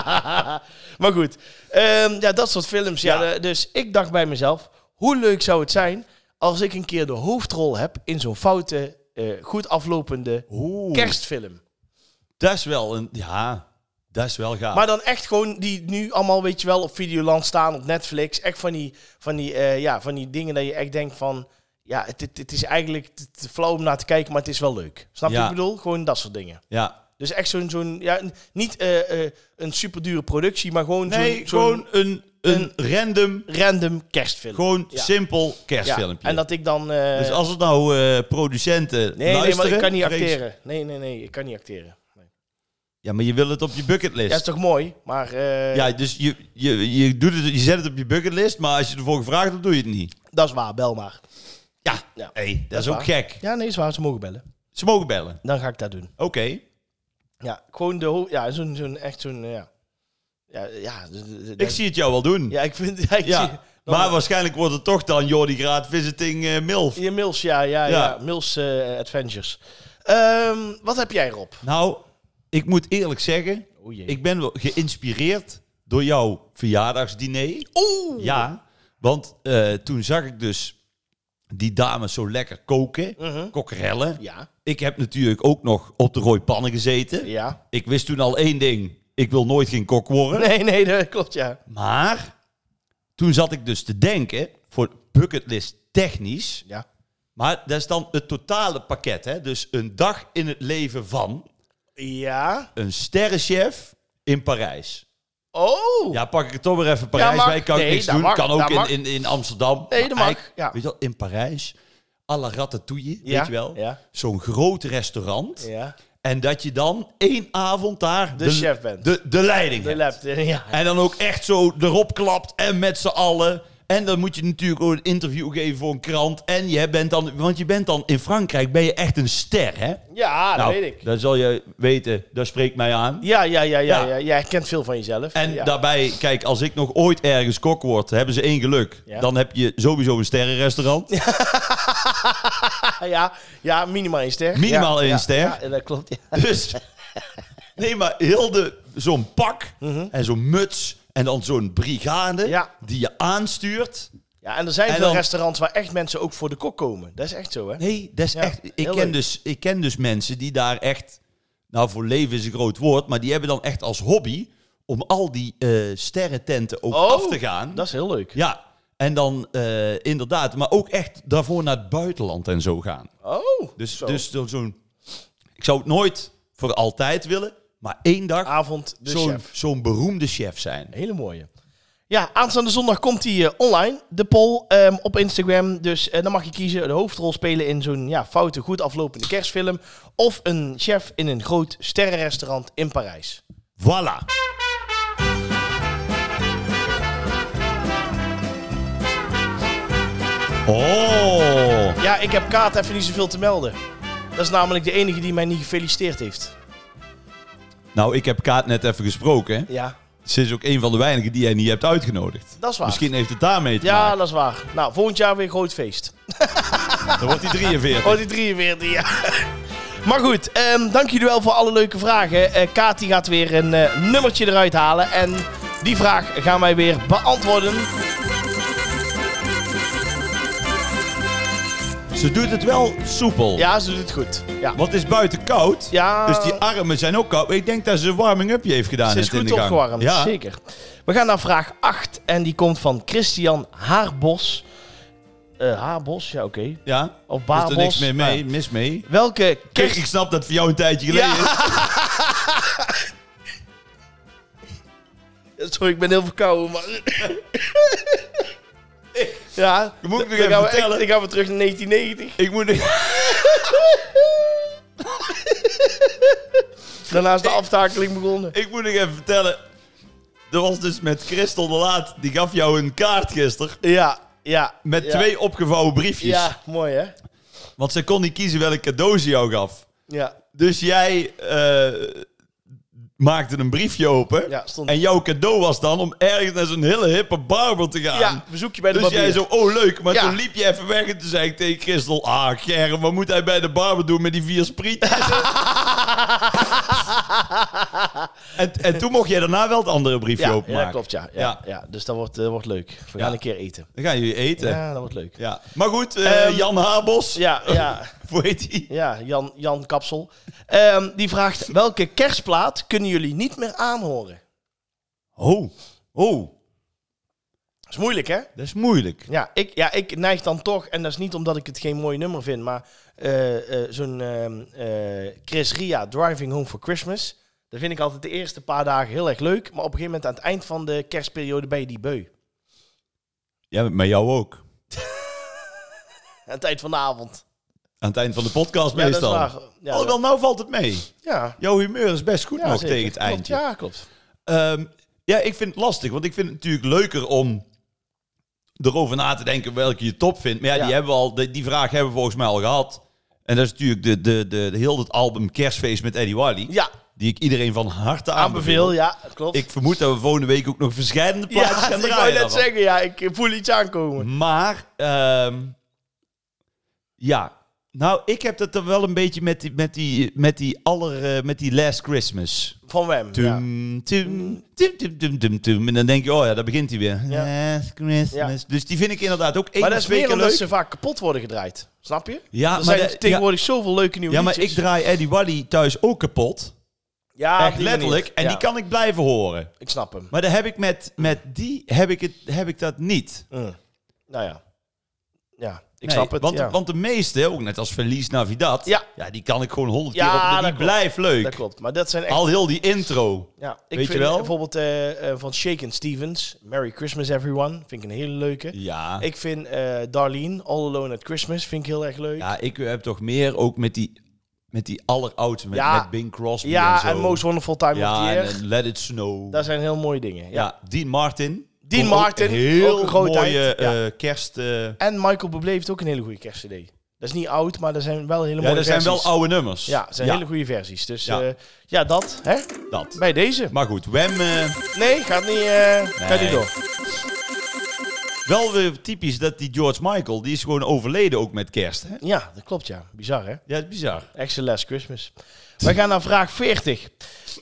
maar goed, Ehm, ja, dat soort films. Ja. Ja. eh, dus ik dacht bij mezelf, hoe leuk zou het zijn als ik een keer de hoofdrol heb in zo'n foute, eh, goed aflopende Oeh, kerstfilm. Dat is wel een... Ja, dat is wel gaaf. Maar dan echt gewoon die nu allemaal, weet je wel, op Videoland staan, op Netflix. Echt van die, van die, eh, ja, van die dingen dat je echt denkt van... Ja, het, het, het is eigenlijk te- te flauw om naar te kijken, maar het is wel leuk. Snap je Ja. wat ik bedoel? Gewoon dat soort dingen. ja. Dus echt zo'n, zo'n ja, n- niet eh, eh, een superdure productie, maar gewoon Nee, zo'n, gewoon een, een, random, zo'n random kerstfilm. gewoon Ja. simpel Ja, kerstfilmpje. En dat ik dan... eh, dus als het nou eh, producenten nee, nee, maar luisteren, ik kan niet vrees- acteren. Nee, nee, nee, ik kan niet acteren. Nee. Ja, maar je wil het op je bucketlist. Ja, is toch mooi, maar... eh, Ja, dus je, je, je, doet het, je zet het op je bucketlist, maar als je ervoor gevraagd hebt, doe je het niet. Dat is waar, bel maar. Ja, Ja. Hey, dat, is is ook waar. gek. Ja, nee, is waar, ze mogen bellen. Ze mogen bellen. Dan ga ik dat doen. Oké. Ja, gewoon de ho- Ja, zo'n, zo'n, echt zo'n, eh, ja. Ja, ja. d- d- d- Ik zie het jou wel doen. Ja, Ja, ik vind... Ja, ik zie- dan- maar waarschijnlijk wordt het toch dan Jordi Graat Visiting eh, MILF. Je Mills, ja, ja, ja. Ja. Mills eh, Adventures. Ehm, wat heb jij, Rob? Nou, ik moet eerlijk zeggen, O jee. ik ben wel geïnspireerd door jouw verjaardagsdiner. Oeh! Ja, want eh, toen zag ik dus die dames zo lekker koken, Mhm. kokkerellen. Ja. Ik heb natuurlijk ook nog op de rooipannen gezeten. Ja. Ik wist toen al één ding. Ik wil nooit geen kok worden. Nee, nee, dat klopt, ja. Maar toen zat ik dus te denken, voor bucketlist technisch. Ja. Maar dat is dan het totale pakket. Hè? Dus een dag in het leven van Ja. een sterrenchef in Parijs. Oh! Ja, pak ik het toch weer even Parijs mag. bij. Kan ik Nee, niks dat doen. mag, kan dat ook mag. in, in, in Amsterdam. Nee, dat Maar mag, eigenlijk, ja. Weet je wel, in Parijs. à la ratatouille, Ja, weet je wel. ja. Zo'n groot restaurant. Ja. En dat je dan één avond daar... De chef bent. De, de leiding De hebt. lab, ja. En dan ook echt zo erop klapt en met z'n allen. En dan moet je natuurlijk ook een interview geven voor een krant. En je bent dan, want je bent dan in Frankrijk ben je echt een ster, hè? Ja, dat Nou, weet ik. Dan zal je weten, dat spreekt mij aan. Ja, ja, ja, ja, ja. Ja. Jij kent veel van jezelf. En ja. daarbij, kijk, als ik nog ooit ergens kok word, hebben ze één geluk. Ja. Dan heb je sowieso een sterrenrestaurant. Ah, ja, ja, minimaal één ster. Minimaal ja, één ja, ster. Ja, dat klopt, ja. Dus, nee, maar heel de, zo'n pak en zo'n muts en dan zo'n brigade Mhm. Ja. die je aanstuurt. Ja, en er zijn En veel dan- restaurants waar echt mensen ook voor de kok komen. Dat is echt zo, hè? Nee, dat is Ja, echt. Ik heel ken, leuk. dus, ik ken dus mensen die daar echt. Nou, voor leven is een groot woord, maar die hebben dan echt als hobby om al die eh sterrententen ook Oh, af te gaan. Dat is heel leuk. Ja, en dan eh, inderdaad, maar ook echt daarvoor naar het buitenland en zo gaan. Oh, Dus, zo. dus zo- zo'n. Ik zou het nooit voor altijd willen, maar één dag avond Ah, dus de zo'n chef. zo'n beroemde chef zijn. Hele mooie. Ja, aanstaande zondag komt die eh, online, de poll, ehm, op Instagram. Dus eh, dan mag je kiezen de hoofdrol spelen in zo'n ja, foute, goed aflopende kerstfilm. Of een chef in een groot sterrenrestaurant in Parijs. Voilà. Oh. Ja, ik heb Kaat even niet zoveel te melden. Dat is namelijk de enige die mij niet gefeliciteerd heeft. Nou, ik heb Kaat net even gesproken. hè. Ja, Ze is ook een van de weinigen die jij niet hebt uitgenodigd. dat is waar. Misschien heeft het daarmee te Ja, maken. dat is waar. Nou, volgend jaar weer groot feest. Dan wordt hij 43. Oh, die 43, ja. Maar goed, ehm, dank jullie wel voor alle leuke vragen. Eh Kati gaat weer een eh, nummertje eruit halen. En die vraag gaan wij weer beantwoorden. Ze doet het wel soepel. Ja, ze doet het goed. Ja, Want het is buiten koud. ja Dus die armen zijn ook koud. Ik denk dat ze een warming-upje heeft gedaan. ze is net in goed de gang. opgewarmd. Ja. Zeker. We gaan naar vraag 8. En die komt van Christian Haarbos. Eh, Haarbos, ja oké. ja. Of Er is Baarbos. er niks meer mee, Ja. mis mee. Welke Kijk, kerst... ik snap dat het voor jou een tijdje geleden Ja. is. Sorry, ik ben heel verkouden, maar... ja, Dat moet ik nog dan even gaan we, vertellen. echt- dan gaan we terug naar 1990. Ik moet... Daarna is de aftakeling begonnen. Ik moet nog even vertellen. Er was dus met Christel de Laat. Die gaf jou een kaart gisteren. Ja, ja. Met ja. twee opgevouwen briefjes. Ja, mooi hè? Want zij kon niet kiezen welk cadeau ze jou gaf. Ja, Dus jij eh, maakte een briefje open. ja stond. En jouw cadeau was dan om ergens naar zo'n hele hippe barber te gaan. ja, bezoekje bij de Dus jij barbier. zo, oh leuk. Maar Ja. toen liep je even weg en toen zei ik tegen Christel... Ah, Germ, wat moet hij bij de barber doen met die vier sprietjes? en, en toen mocht jij daarna wel het andere briefje ja, openmaken. ja, dat klopt ja. Ja, ja. Ja. dus dat wordt, eh, wordt leuk. We Ja. gaan een keer eten. Dan gaan jullie eten. Ja. Ja, dat wordt leuk. Maar goed, eh, Ehm, Jan Habos. Ja, ja, Hoe heet die? ja Jan, Jan Kapsel. Ehm, die vraagt, welke kerstplaat kunnen jullie niet meer aanhoren? Oh, oh. Dat is moeilijk hè? Dat is moeilijk. Ja ik, ja, ik neig dan toch, en dat is niet omdat ik het geen mooi nummer vind, maar eh, eh, zo'n ehm, eh, Chris Ria, Driving Home for Christmas. Dat vind ik altijd de eerste paar dagen heel erg leuk. Maar op een gegeven moment aan het eind van de kerstperiode ben je die beu. Ja, maar jou ook. Aan het eind van de avond. Aan het eind van de podcast Ja, meestal. dat is waar. Ja, Alhoewel, nou valt het mee. ja. Jouw humeur is best goed Ja, nog zeker. tegen het Klopt, eindje. Ja, klopt. Ehm, ja, ik vind het lastig. Want ik vind het natuurlijk leuker om erover na te denken welke je top vindt. Maar ja, Ja. Die, hebben we al, die, die vraag hebben we volgens mij al gehad. En dat is natuurlijk de, de, de, de heel het album Kerstfeest met Eddie Wiley. Ja, Die ik iedereen van harte aanbeveel. aanbeveel, ja, klopt. Ik vermoed dat we volgende week ook nog verschillende ja, plaatsen gaan ik wou draaien. net daarvan. zeggen, ja, ik voel iets aankomen. Maar, ehm, ja. Nou, ik heb dat er wel een beetje met die, met die, met die, aller, eh, met die Last Christmas. Van Wem, ja. Tum, tum, tum, tum, tum, tum, tum. En dan denk je, oh ja, daar begint hij weer. Ja. Last Christmas. Dus die vind ik inderdaad ook één Maar dat is of twee meer keer omdat leuk. ze vaak kapot worden gedraaid. Snap je? Ja, er maar, zijn de- ja, tegenwoordig zoveel leuke nieuwe ja, maar ik liedjes. draai Eddie Wally thuis ook kapot. ja, op echt die letterlijk. manier. En Ja, die kan ik blijven horen. Ik snap hem. Maar daar heb ik met, met die heb ik, het, heb ik dat niet. Mm. Nou ja. Ja, ik Nee, snap het. Want, ja. want de meeste, ook net als Verlies Navidad, Ja. die kan ik gewoon honderd Ja, keer op. dat Die klopt. blijft dat leuk. klopt. Maar dat zijn echt... Al heel die intro. ja, ik weet je vind wel? bijvoorbeeld eh, eh, van Shaken Stevens, Merry Christmas Everyone, vind ik een hele leuke. Ja. Ik vind eh, Darlene, All Alone at Christmas, vind ik heel erg leuk. Ja, ik eh, heb toch meer ook met die, met die alleroudste, met, Ja. met Bing Crosby en Ja, zo. en Most Wonderful Time of the ja, Year. en, en Let It Snow. Dat zijn heel mooie dingen. Ja. ja, Dean Martin. Dean Ook een Martin, heel ook een grootheid, mooie ja. eh, kerst... eh, En Michael Bublé heeft ook een hele goede kerstcd. Dat is niet oud, maar er zijn wel hele ja, mooie dat zijn versies. wel oude nummers. Ja, er zijn hele goede versies. Dus Ja. ja, ja dat, hè? dat. Bij deze. Maar goed, Wem... eh, Nee, gaat niet, eh gaat niet door. wel weer typisch dat die George Michael, die is gewoon overleden ook met kerst. Hè? Ja, dat klopt, ja. Bizar, hè? Ja, dat is bizar. Echt zijn last Christmas. We gaan naar vraag 40.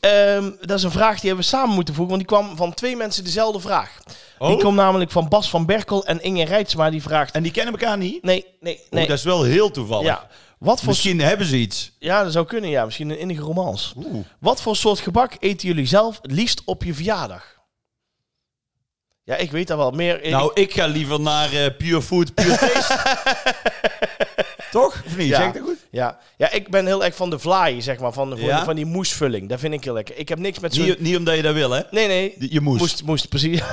Ehm, dat is een vraag die hebben we samen moeten voegen, want die kwam van twee mensen dezelfde vraag. Die Oh? kwam namelijk van Bas van Berkel en Inge Reitsma, die vraagt... En die kennen elkaar niet? Nee, nee, Nee. nee. dat is wel heel toevallig. ja. Wat voor Misschien hebben ze iets. Ja, dat zou kunnen, ja. Misschien een innige romans. Oeh. Wat voor soort gebak eten jullie zelf het liefst op je verjaardag? Ja, ik weet dat wel. Meer, Nou, ik ga liever naar eh, Pure Food, Pure Taste. Toch? Of niet? Ja. Zeg ik dat goed? ja. ja, ik ben heel erg van de vlaai, zeg maar. Van, van, Ja? van die moesvulling. Dat vind ik heel lekker. Ik heb niks met zo'n... Niet, niet omdat je dat wil, hè? Nee, nee. Je moest. Moest, moest, precies.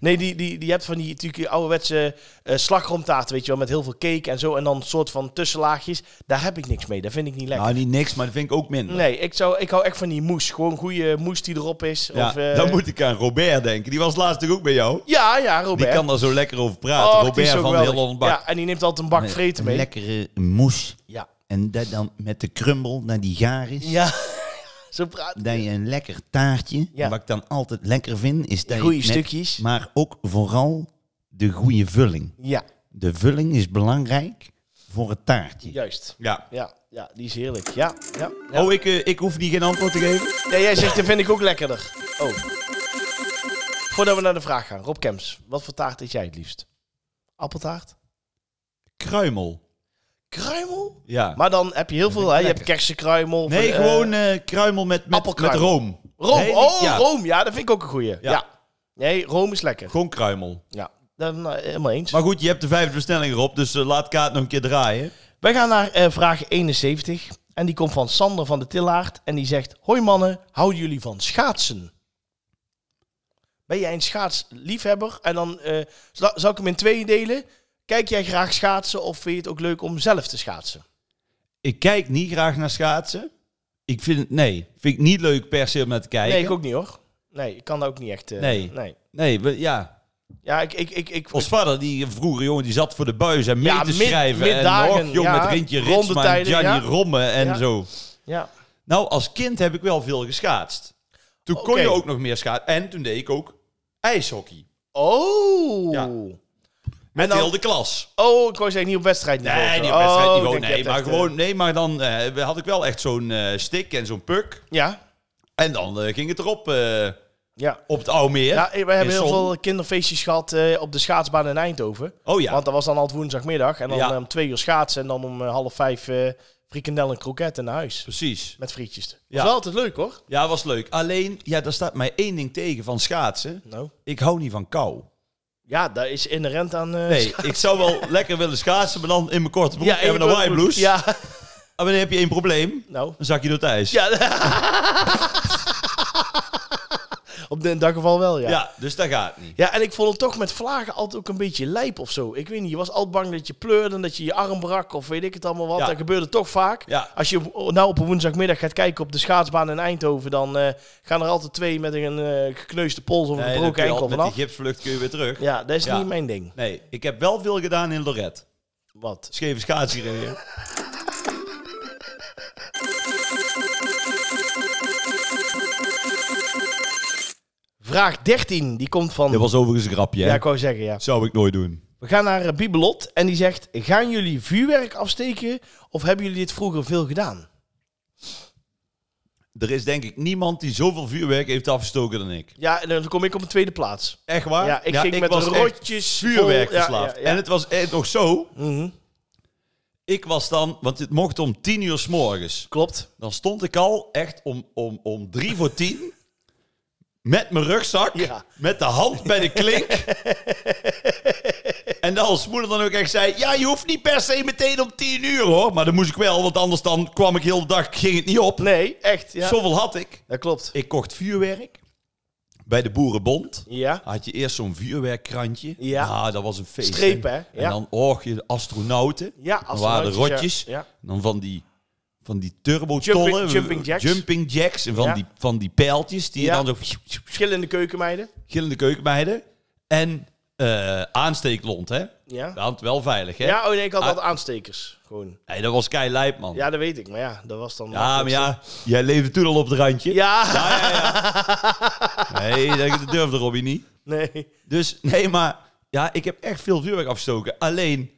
Nee, die, die, die hebt van die, natuurlijk die ouderwetse eh slagroomtaart, weet je wel, met heel veel cake en zo. En dan een soort van tussenlaagjes. Daar heb ik niks mee. Dat vind ik niet lekker. Nou, niet niks, maar dat vind ik ook minder. Nee, ik, zou, ik hou echt van die moes. Gewoon goede moes die erop is. Ja, of, eh, dan moet ik aan Robert denken. Die was laatst toch ook bij jou? ja, ja, Die Robert. kan daar zo lekker over praten. Och, die is Robert zo van geweldig. heel Holland Bak. Ja, en die neemt altijd een bak vreten mee. lekkere moes. Ja. En dat dan met de krummel naar die gaar is. ja, zo praat dat je een lekker taartje, Ja. wat ik dan altijd lekker vind, is dat je Goeie met- stukjes. maar ook vooral de goede vulling. Ja, De vulling is belangrijk voor het taartje. juist. Ja. Ja, ja die is heerlijk. Ja, ja. ja. Oh, ik, eh, ik hoef niet geen antwoord te geven? Ja, jij zegt, dat vind ik ook lekkerder. Oh. Voordat we naar de vraag gaan. Rob Kems, wat voor taart eet jij het liefst? Appeltaart? Kruimel. Kruimel? Ja. Maar dan heb je heel veel, hè? Je hebt lekker. kersenkruimel. nee, van, eh, gewoon eh, kruimel met, met, met appelkruimel. room. room. Nee, oh, ja. room. Ja, dat vind ik ook een goeie. Ja. Ja. Nee, room is lekker. Gewoon kruimel. Ja, dan eh, helemaal eens. Maar goed, je hebt de vijfde bestelling erop, dus eh, laat Kaat nog een keer draaien. Wij gaan naar eh, vraag 71. En die komt van Sander van de Tillaard. En die zegt, hoi mannen, houden jullie van schaatsen? Ben jij een schaatsliefhebber? En dan eh, zal zal ik hem in tweeën delen. Kijk jij graag schaatsen of vind je het ook leuk om zelf te schaatsen? Ik kijk niet graag naar schaatsen. Ik vind het, nee, vind ik niet leuk per se om naar te kijken. Nee, ik ook niet hoor. Nee, ik kan dat ook niet echt. eh, Nee. Nee, we- ja. Ja, ik... ik, ik, ik Ons vader, die eh, vroeger jongen, die zat voor de buis en mee Ja, te mid- schrijven. middagen, en nog, jong, ja. met Rintje Ritsma en Rondetijden, Gianni ja. Romme en Ja. zo. ja. Nou, als kind heb ik wel veel geschaatst. Toen kon Oké. je ook nog meer schaatsen. En toen deed ik ook ijshockey. Oh! Ja. Met dan- heel de klas. Oh, ik wou zeggen niet op wedstrijdniveau. Nee, niet op Oh, wedstrijdniveau. ik denk, je nee, hebt maar echt, eh, gewoon, nee, maar dan eh, had ik wel echt zo'n eh stick en zo'n puk. Ja, En dan eh, ging het erop eh, ja. op het oude meer. Ja, we hebben In heel Son. veel kinderfeestjes gehad eh, op de schaatsbaan in Eindhoven. Oh ja. Want dat was dan altijd woensdagmiddag. En dan Ja. eh, om twee uur schaatsen. En dan om eh, half vijf eh frikandel en kroket naar huis. Precies. Met frietjes. Dat Ja. was wel altijd leuk hoor. Ja, was leuk. Alleen, ja, daar staat mij één ding tegen van schaatsen. Nou. Ik hou niet van kou. Ja, dat is inherent aan... eh, Nee, scha- ik zou wel lekker willen schaatsen, maar dan in mijn korte broek en ik mijn Hawaii bedoel- blouse. Ja, Ah, Maar dan heb je één probleem. nou. Dan zak je door het ijs. Ja. Op de, in dat geval wel, ja. ja. Ja, dus dat gaat niet. en ik vond het toch met vlagen altijd ook een beetje lijp of zo. Ik weet niet, je was altijd bang dat je pleurde en dat je je arm brak of weet ik het allemaal wat. Ja. Dat gebeurde toch vaak. Ja. Als je op- nou op een woensdagmiddag gaat kijken op de schaatsbaan in Eindhoven, dan eh, gaan er altijd twee met een eh gekneusde pols of een Nee, dan kun gebroken je enkel al- met die vanaf. gipsvlucht kun je weer terug. Ja, dat is Ja. niet mijn ding. Nee, ik heb wel veel gedaan in Lorette. Wat? Scheve schaatsen gereden. Vraag 13, die komt van... Dat was overigens een grapje, hè? ja, ik wou zeggen, ja. Zou ik nooit doen. We gaan naar eh, Bibelot en die zegt: Gaan jullie vuurwerk afsteken of hebben jullie dit vroeger veel gedaan? Er is denk ik niemand die zoveel vuurwerk heeft afgestoken dan ik. Ja, en dan kom ik op de tweede plaats. Echt waar? Ja, ik ging met was echt rotjes vol- vuurwerk ja, verslaafd. ja, ja. En het was eh, nog zo. Mhm, Ik was dan, want het mocht om tien uur s morgens. Klopt. Dan stond ik al echt om, om, om drie voor tien. Met mijn rugzak. Ja. Met de hand bij de klink. en dan als moeder dan ook echt zei... Ja, je hoeft niet per se meteen om tien uur hoor. Maar dat moest ik wel, want anders dan kwam ik heel de dag... Ging het niet op. Nee, echt. Ja. Zoveel had ik. Dat klopt. Ik kocht vuurwerk. Bij de Boerenbond. Ja. Had je eerst zo'n vuurwerkkrantje. Ja. Ah, dat was een feest. Strepen, hè? En Ja. dan, och, je astronauten. Ja, Dan waren de astronautjes, rotjes. ja. Ja. Dan van die, van die turbotollen. Jumping- jumping jacks. Jumping jacks. En van, Ja. die, van die pijltjes die Ja. je dan zo... Verschillende keukenmeiden. Gillende keukenmeiden. En eh aansteeklont, hè? Ja. Ja, Dat wel veilig, hè? oh nee, ik had Ah. altijd aanstekers. Gewoon. Hey, dat was kei lijp, man. Ja, dat weet ik. Maar ja, dat was dan. Ja, maar ja, jij leefde toen al op het randje. Ja. ja, ja, ja. Nee, dat durfde Robbie niet. Nee. Dus nee, maar ja, ik heb echt veel vuurwerk afgestoken. Alleen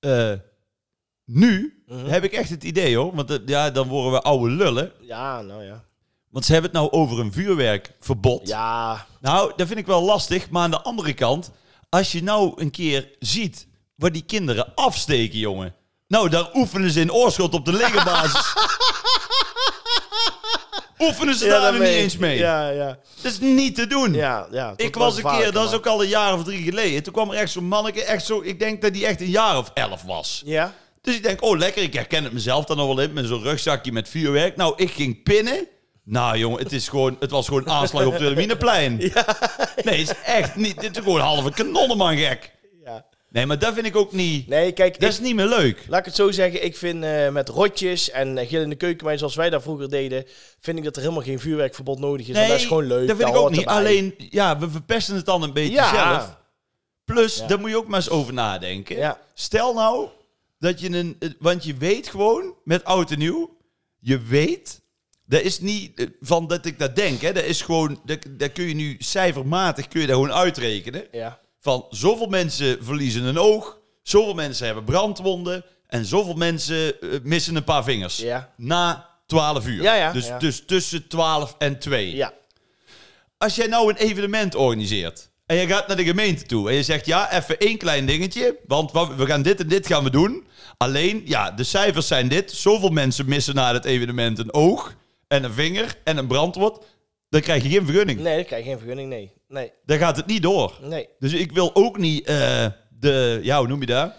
eh, nu Mhm. heb ik echt het idee hoor. Want eh, ja, dan worden we oude lullen. Ja, nou ja. Want ze hebben het nou over een vuurwerkverbod. Ja. Nou, dat vind ik wel lastig. Maar aan de andere kant, als je nou een keer ziet waar die kinderen afsteken, jongen. Nou, daar oefenen ze in oorschot op de legerbasis. oefenen ze ja daar dat nog niet weet ik. eens mee. Ja, ja. Dat is niet te doen. ja, ja het Ik wordt was wel een keer, dat is gevaarlijker, ook al een jaar of drie geleden. Toen kwam er echt zo'n manneke, echt zo, ik denk dat die echt een jaar of elf was. maar- Ja. Dus ik denk, oh lekker, ik herken het mezelf dan nog wel in, met zo'n rugzakje met vuurwerk. Nou, ik ging pinnen. Nou jongen, het, is gewoon, het was gewoon aanslag op het Wilhelminaplein. Nee, het is echt niet, dit is gewoon halve kanonnenman gek. ja. Nee, maar dat vind ik ook niet, Nee, kijk. dat ik- is niet meer leuk. Laat ik het zo zeggen, ik vind eh, met rotjes en eh, gillende keukenmeiden zoals wij dat vroeger deden, vind ik dat er helemaal geen vuurwerkverbod nodig is. en Nee, dat is gewoon leuk. Dat vind ik ook hoort niet. erbij. Alleen, ja, we verpesten het dan een beetje Ja. zelf. Plus, Ja. daar moet je ook maar eens over nadenken. Ja. Stel nou dat je een... eh, Want je weet gewoon, met oud en nieuw... Je weet... Dat is niet eh, van dat ik dat denk. Hè. Dat is gewoon... Dat, dat kun je nu cijfermatig kun je dat gewoon uitrekenen. Ja. van zoveel mensen verliezen een oog, zoveel mensen hebben brandwonden en zoveel mensen eh, missen een paar vingers. Ja. Na 12 uur. Ja, ja, dus, ja. dus tussen 12 en 2. Ja. Als jij nou een evenement organiseert en je gaat naar de gemeente toe en je zegt ja, even één klein dingetje, want wa- we gaan dit en dit gaan we doen. Alleen, ja, de cijfers zijn dit. Zoveel mensen missen na het evenement een oog en een vinger en een brandwond. Dan krijg je geen vergunning. Nee, dan krijg je geen vergunning. Nee. Nee. Dan gaat het niet door. Nee. Dus ik wil ook niet eh, de, ja, hoe noem je dat?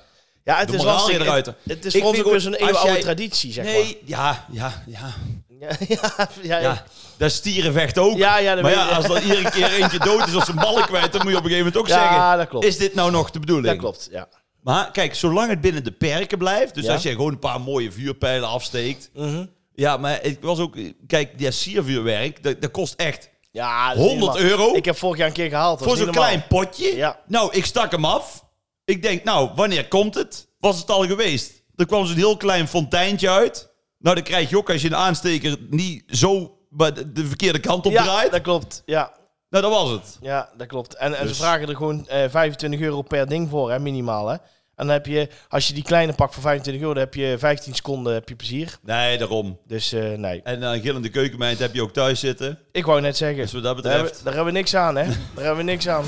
Ja, het De is moraal lastig. eruit. Het, het is Ik voor ons vind ook weer zo'n ook, als eeuwenoude jij- traditie, zeg maar. Nee, ja, ja, ja. Ja, ja, ja, Ja, dat stierenvecht ook. Ja, ja, dat maar weet ja, ik. als er iedere keer eentje dood is of zijn ballen kwijt, dan moet je op een gegeven moment ook Ja, zeggen... dat klopt. Is dit nou nog de bedoeling? dat klopt. Ja. Maar kijk, zolang het binnen de perken blijft, dus Ja. als jij gewoon een paar mooie vuurpijlen afsteekt... Mhm. Ja, maar ik was ook... Kijk, ja, siervuurwerk, dat, dat kost echt ja dat is 100 niet normaal. euro Ik heb vorig jaar een keer gehaald. dat voor is zo'n niet normaal. klein potje. Ja. Nou, ik stak hem af. Ik denk, nou, wanneer komt het? Was het al geweest? Er kwam zo'n heel klein fonteintje uit. Nou, dan krijg je ook als je een aansteker niet zo bij de de verkeerde kant op Ja, draait. dat klopt. Ja, Nou, dat was het. ja dat klopt. En, en ze Dus- vragen er gewoon eh, 25 euro per ding voor, hè, minimaal. Hè? En dan heb je, als je die kleine pakt voor 25 euro, dan heb je 15 seconden heb je plezier. Nee, daarom. Dus eh, nee. En dan gillende keukenmeid heb je ook thuis zitten. Ik wou net zeggen. Dus wat dat Daar hebben, betreft. daar hebben we niks aan, hè? Daar hebben we niks aan.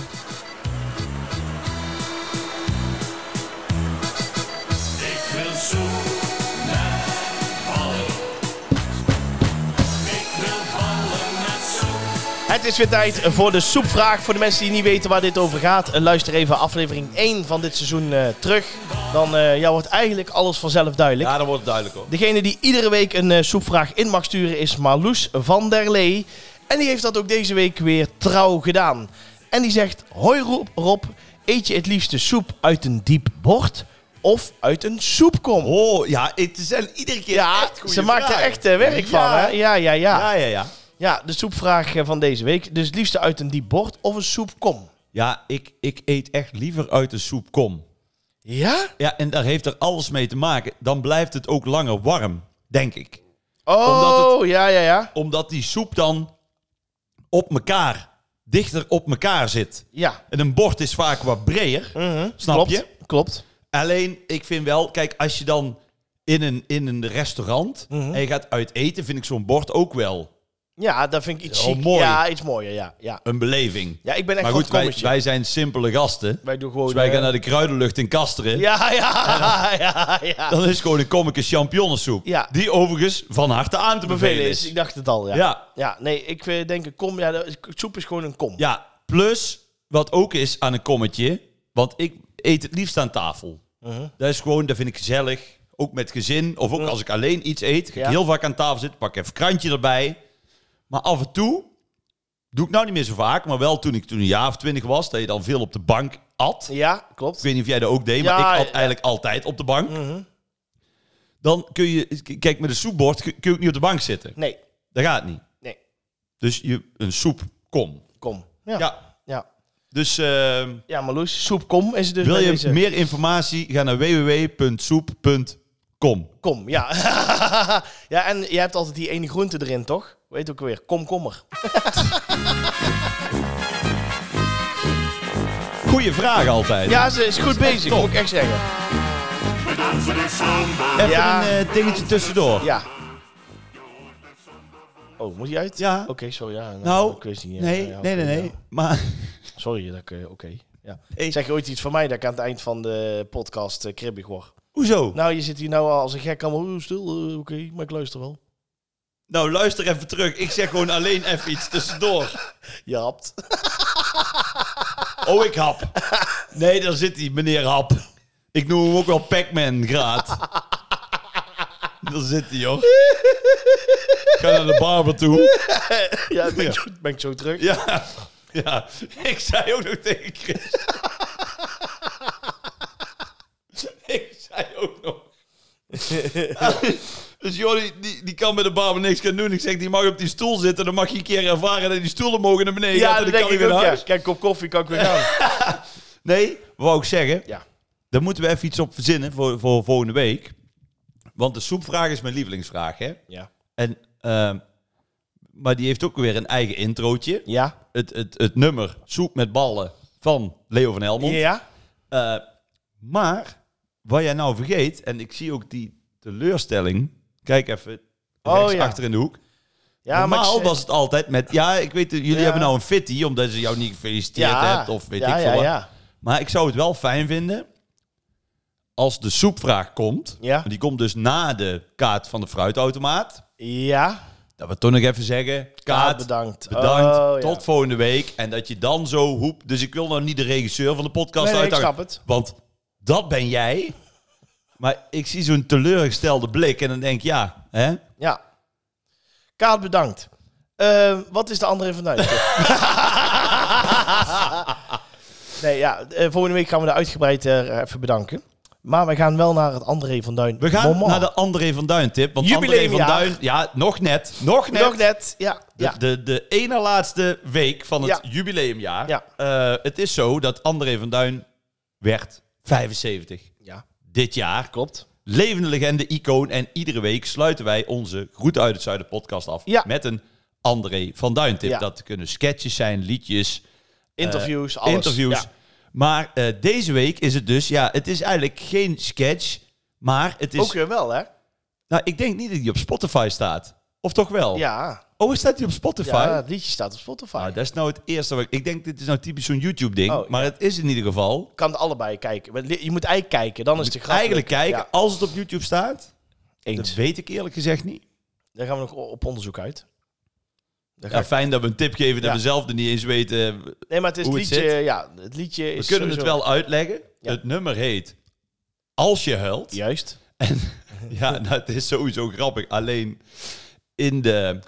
Ik wil zoenen, ballen. Ik wil ballen met zoen. Het is weer tijd voor de soepvraag. Voor de mensen die niet weten waar dit over gaat, eh, luister even aflevering 1 van dit seizoen eh, terug. Dan eh, ja, wordt eigenlijk alles vanzelf duidelijk. Ja, dan wordt het duidelijk hoor. Degene die iedere week een eh, soepvraag in mag sturen is Marloes van der Lee. En die heeft dat ook deze week weer trouw gedaan. En die zegt: Hoi Rob, Rob, eet je het liefst de soep uit een diep bord of uit een soepkom? Oh, ja, het zijn iedere keer ja, echt goede ze maakt er vragen. echt eh, werk van, Ja. hè? Ja, ja, ja. Ja, ja, ja. Ja, de soepvraag eh, van deze week. Dus het liefst uit een diep bord of een soepkom. Ja, ik, ik eet echt liever uit de soep kom. Ja? Ja, en daar heeft er alles mee te maken. Dan blijft het ook langer warm, denk ik. Oh, Omdat ja, ja, ja. Omdat die soep dan op elkaar, dichter op elkaar zit. Ja. En een bord is vaak wat breder, Mhm. snap Klopt. je? Klopt. Alleen, ik vind wel, kijk, als je dan in een, in een restaurant Mhm. en je gaat uit eten, vind ik zo'n bord ook wel Ja, dat vind ik iets Oh, chic. mooi. Ja, iets mooier, ja. Ja, een beleving. ja ik ben echt van maar goed, het wij, kommetje. wij zijn simpele gasten. Wij doen gewoon... Dus wij eh, gaan naar de kruidenlucht in Kasteren. Ja, ja, ja, ja. Dan is het gewoon een kommetje champignonsoep. Ja. Die overigens van harte aan te bevelen Bevelen is. is, ik dacht het al, ja. ja, nee, ik eh, denk een kom, ja, de- soep is gewoon een kom. Ja, plus wat ook is aan een kommetje, want ik eet het liefst aan tafel. Mhm. Dat is gewoon, dat vind ik gezellig. Ook met gezin, of ook als ik alleen iets eet, ga ik Ja. heel vaak aan tafel zitten, pak even een krantje erbij. Maar af en toe, doe ik nou niet meer zo vaak, maar wel toen ik toen een jaar of twintig was, dat je dan veel op de bank at. Ja, Ik klopt. weet niet of jij dat ook deed, maar Ja, ik at ja. eigenlijk altijd op de bank. Mhm. Dan kun je, k- kijk, met een soepbord kun kun je ook niet op de bank zitten. Nee, Dat gaat niet. nee, Dus je, een soep, kom. kom. Ja, ja. Ja, ja. dus... ehm, Marloes, soep kom is het dus Wil bij je deze. meer informatie? Ga naar www.soep.com. Kom, ja. ja, en je hebt altijd die ene groente erin, toch? Weet ook weer, komkommer. Goeie vraag altijd. Ja, ze is goed bezig, top. moet ik echt zeggen. Bedankt voor de samba. Even ja. een eh, dingetje tussendoor. Ja. Oh, moet die uit? Ja. Oké, sorry. Ja, nou, Nou, ik wist niet. eh, nee, ja, nee, nee, oké, nee. ja. Maar Sorry, dat ik, eh, oké. Ja. Hey. Zeg je ooit iets van mij dat ik aan het eind van de podcast eh, kribbig word? hoezo? Nou, Nou, je zit hier nou al als een gek allemaal oh, stil. eh, oké, maar ik luister wel. Nou, luister even terug. Ik zeg gewoon alleen even iets tussendoor. Je hapt. Oh, ik hap. Nee, daar zit hij, meneer Hap. Ik noem hem ook wel Pac-Man graad. Daar zit hij, hoor. Ik ga naar de barber toe. ja, ben, Ja. Ik zo, ben ik zo terug? Ja, ja. Ik zei ook nog tegen Chris. ik zei ook nog. dus Jordi, die, die kan met de barber niks gaan doen. Ik zeg, die mag op die stoel zitten. Dan mag je een keer ervaren dat die stoelen mogen naar beneden. Ja, dat gaan, dan denk kan ik hij ook, weer naar ja. huis. Kijk, kop koffie kan ik weer gaan. Nee, wou ik zeggen. ja. Daar moeten we even iets op verzinnen voor, voor volgende week. Want de soepvraag is mijn lievelingsvraag, hè. Ja. En, ehm, maar die heeft ook weer een eigen introotje. Ja. het, het, het nummer Soep met ballen van Leo van Helmond. Ja. Eh, maar wat jij nou vergeet, en ik zie ook die teleurstelling. Kijk even Oh, rechts ja. achter in de hoek. Ja, eh, maar Normaal ik- was het altijd met, ja, ik weet, dat jullie Ja. hebben nou een fitty, omdat ze jou niet gefeliciteerd Ja. hebt, of weet Ja, ik veel ja, wat. ja. Maar ik zou het wel fijn vinden als de soepvraag komt. Ja. en Die komt dus na de kaart van de fruitautomaat. Ja. Dat we toch nog even zeggen, kaart, Ah, bedankt. bedankt, Oh, ja. tot volgende week. En dat je dan zo hoep... Dus ik wil nou niet de regisseur van de podcast Nee, nee, ik uitdagen, snap het. Want dat ben jij. Maar ik zie zo'n teleurgestelde blik en dan denk ik, ja, hè? Ja. Kaat, bedankt. Eh, wat is de andere van nee, ja, eh, volgende week gaan we er uitgebreid eh, even bedanken. Maar we gaan wel naar het André van Duin. We gaan moment. naar de André van Duin tip. Want André van Jubileumjaar. Duin, ja, nog net. Nog net. Nog net, ja. De, ja. de, de ene laatste week van het Ja. jubileumjaar. Ja. Eh, het is zo dat André van Duin werd 75 ja, dit jaar. klopt. Levende legende, icoon. En iedere week sluiten wij onze Groet uit het Zuiden podcast af Ja. met een André van Duin tip. Ja. Dat kunnen sketches zijn, liedjes, Interviews, alles. Eh, interviews. Ja. Maar eh, deze week is het dus, ja, het is eigenlijk geen sketch, maar het is... Ook weer wel, hè? Nou, ik denk niet dat die op Spotify staat. Of toch wel? Ja. Oh, staat die op Spotify? ja, het liedje staat op Spotify. Ah, dat is nou het eerste wat ik... Ik denk, dit is nou typisch zo'n YouTube-ding. Oh, maar het is in ieder geval... kan het allebei kijken. Maar li- Je moet eigenlijk kijken, dan is het grappig. Eigenlijk kijken, Ja, als het op YouTube staat... Dat eens. weet ik eerlijk gezegd niet. Daar gaan we nog o- op onderzoek uit. Daar ga Ja, ik- fijn dat we een tip geven dat Ja. we zelf er niet eens weten. We nee, maar het is het hoe het liedje... ja, het liedje is kunnen het sowieso- wel uitleggen. Ja. Het nummer heet Als je huilt. Ja, Juist. nou, het is sowieso grappig. Alleen in de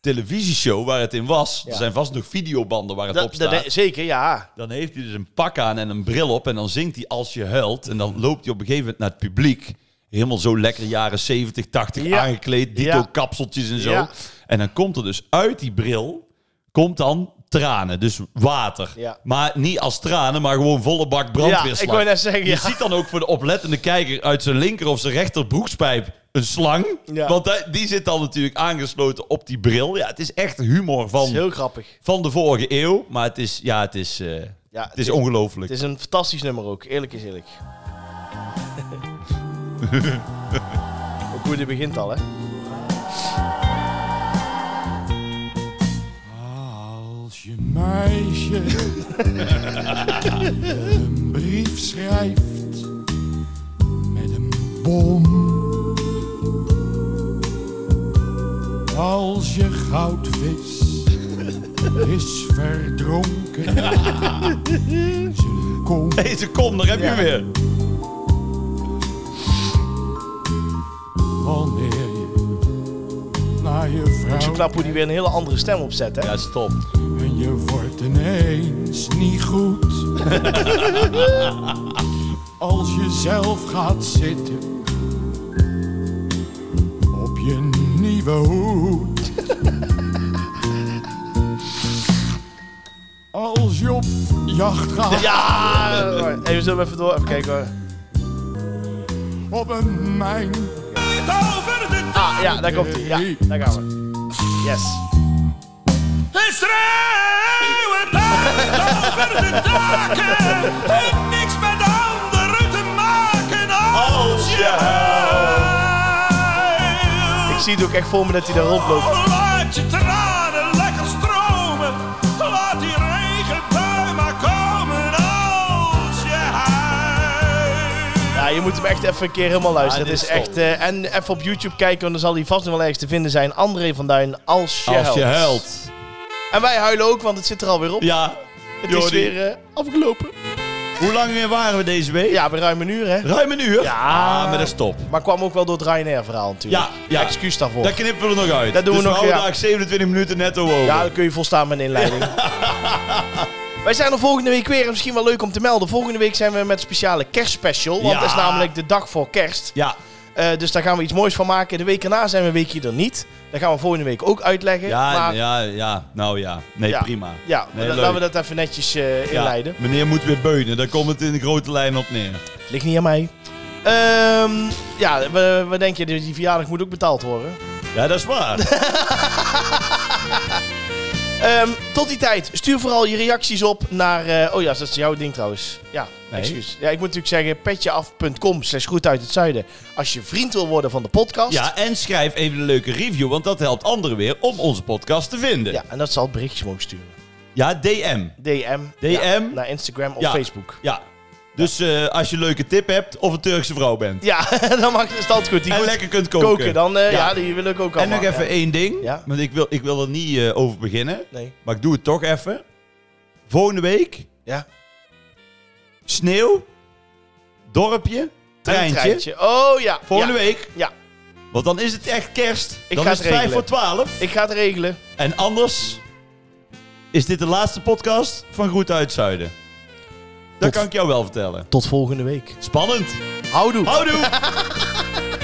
televisieshow waar het in was... Ja. Er zijn vast nog videobanden waar het Dat, op staat. dat- zeker, ja. Dan heeft hij dus een pak aan en een bril op. En dan zingt hij als je huilt. En dan loopt hij op een gegeven moment naar het publiek. Helemaal zo lekker jaren 70, 80 Ja. aangekleed. Dito Ja. kapseltjes en zo. Ja. En dan komt er dus uit die bril... komt dan tranen, dus water. Ja. Maar niet als tranen, maar gewoon volle bak brandweerslag. Ja, ik wou net zeggen, Je ja. ziet dan ook voor de oplettende kijker... uit zijn linker of zijn rechter broekspijp een slang. Ja. Want die- die zit dan natuurlijk aangesloten op die bril. Ja, het is echt humor Het van is heel grappig. van de vorige eeuw. Maar het is, ja, het is, eh, Ja, het is ongelooflijk. Het is een fantastisch nummer ook, eerlijk is eerlijk. ook hoe die begint al, hè? Als je meisje een brief schrijft met een bom. Als je goudvis is verdronken, ze komt Deze kom, daar heb Ja. je weer. wanneer je naar je Zo vrouw knap hoe die weer een hele andere stem opzet, hè? Ja, stop. En je wordt ineens niet goed. Als je zelf gaat zitten op je nieuwe hoed. Als je op jacht gaat Ja! hoor. Hey, we zullen even door. Even kijken hoor. op een mijn Ah, ja, daar komt hij. Ja, daar gaan we. Yes. Schreeuwen over de daken. Heeft niks met anderen te maken oh. als je Ik huilt. zie het ook echt voor me dat hij daar rondloopt. Oh, Laat je tranen lekker stromen. Laat die regenbui maar komen als je huilt. Ja, je moet hem echt even een keer helemaal luisteren. Ja, het dit is is echt... eh, en even op YouTube kijken, want dan zal hij vast nog wel ergens te vinden zijn. André van Duin, als je, Als je huilt. En wij huilen ook, want het zit er alweer op. Ja, het is Jordi. weer eh, afgelopen. Hoe lang weer waren we deze week? Ja, we ruim een uur, hè? Ruim een uur. Ja. Ah, maar dat is top. Maar kwam ook wel door het Ryanair-verhaal natuurlijk. Ja, ja. Excuus daarvoor. Dat knippen we er nog uit. Dat doen we Dus nog, houden ja. daar 27 minuten netto over. Ja, dan kun je volstaan met een inleiding. Wij zijn er volgende week weer. En misschien wel leuk om te melden. Volgende week zijn we met een speciale kerstspecial. Want Ja. het is namelijk de dag voor kerst. ja. Eh, dus daar gaan we iets moois van maken. De week erna zijn we een weekje er niet. Dat gaan we volgende week ook uitleggen. Ja, maar, ja, ja. Nou ja. Nee, Ja. prima. ja, Nee, la- leuk. laten we dat even netjes eh, Ja. inleiden. Meneer moet weer beunen. Daar komt het in de grote lijn op neer. Ligt niet aan mij. Ehm, ja, we- wat denk je? Die die verjaardag moet ook betaald worden. Ja, dat is waar. Ehm, tot die tijd, stuur vooral je reacties op naar... eh, oh ja, dat is jouw ding trouwens. Ja, Nee. excuus. Ja, ik moet natuurlijk zeggen petjeaf.com slash groet uit het zuiden. Als je vriend wil worden van de podcast. Ja, en schrijf even een leuke review, want dat helpt anderen weer om onze podcast te vinden. Ja, Ja, en dat zal berichtjes mogen sturen. DM. DM. DM. Ja, naar Instagram of Ja. Facebook. Ja. Dus eh, als je een leuke tip hebt of een Turkse vrouw bent. Ja, dan mag je stand goed. Die en goed lekker kunt koken. koken. Dan, eh, ja. Ja. die wil ik ook en allemaal. nog even Ja. één ding, Ja. want ik wil, ik wil er niet eh, over beginnen. Nee. Maar ik doe het toch even. Volgende week, Ja. sneeuw, dorpje, En een treintje. Oh ja. Volgende ja. week, Ja. want dan is het echt kerst. Ik dan ga is het het 5 voor regelen. 12. Ik ga het regelen. En anders is dit de laatste podcast van Groet uit Zuiden. Dat Tot- kan ik jou wel vertellen. Tot volgende week. Spannend. Houdoe. Houdoe!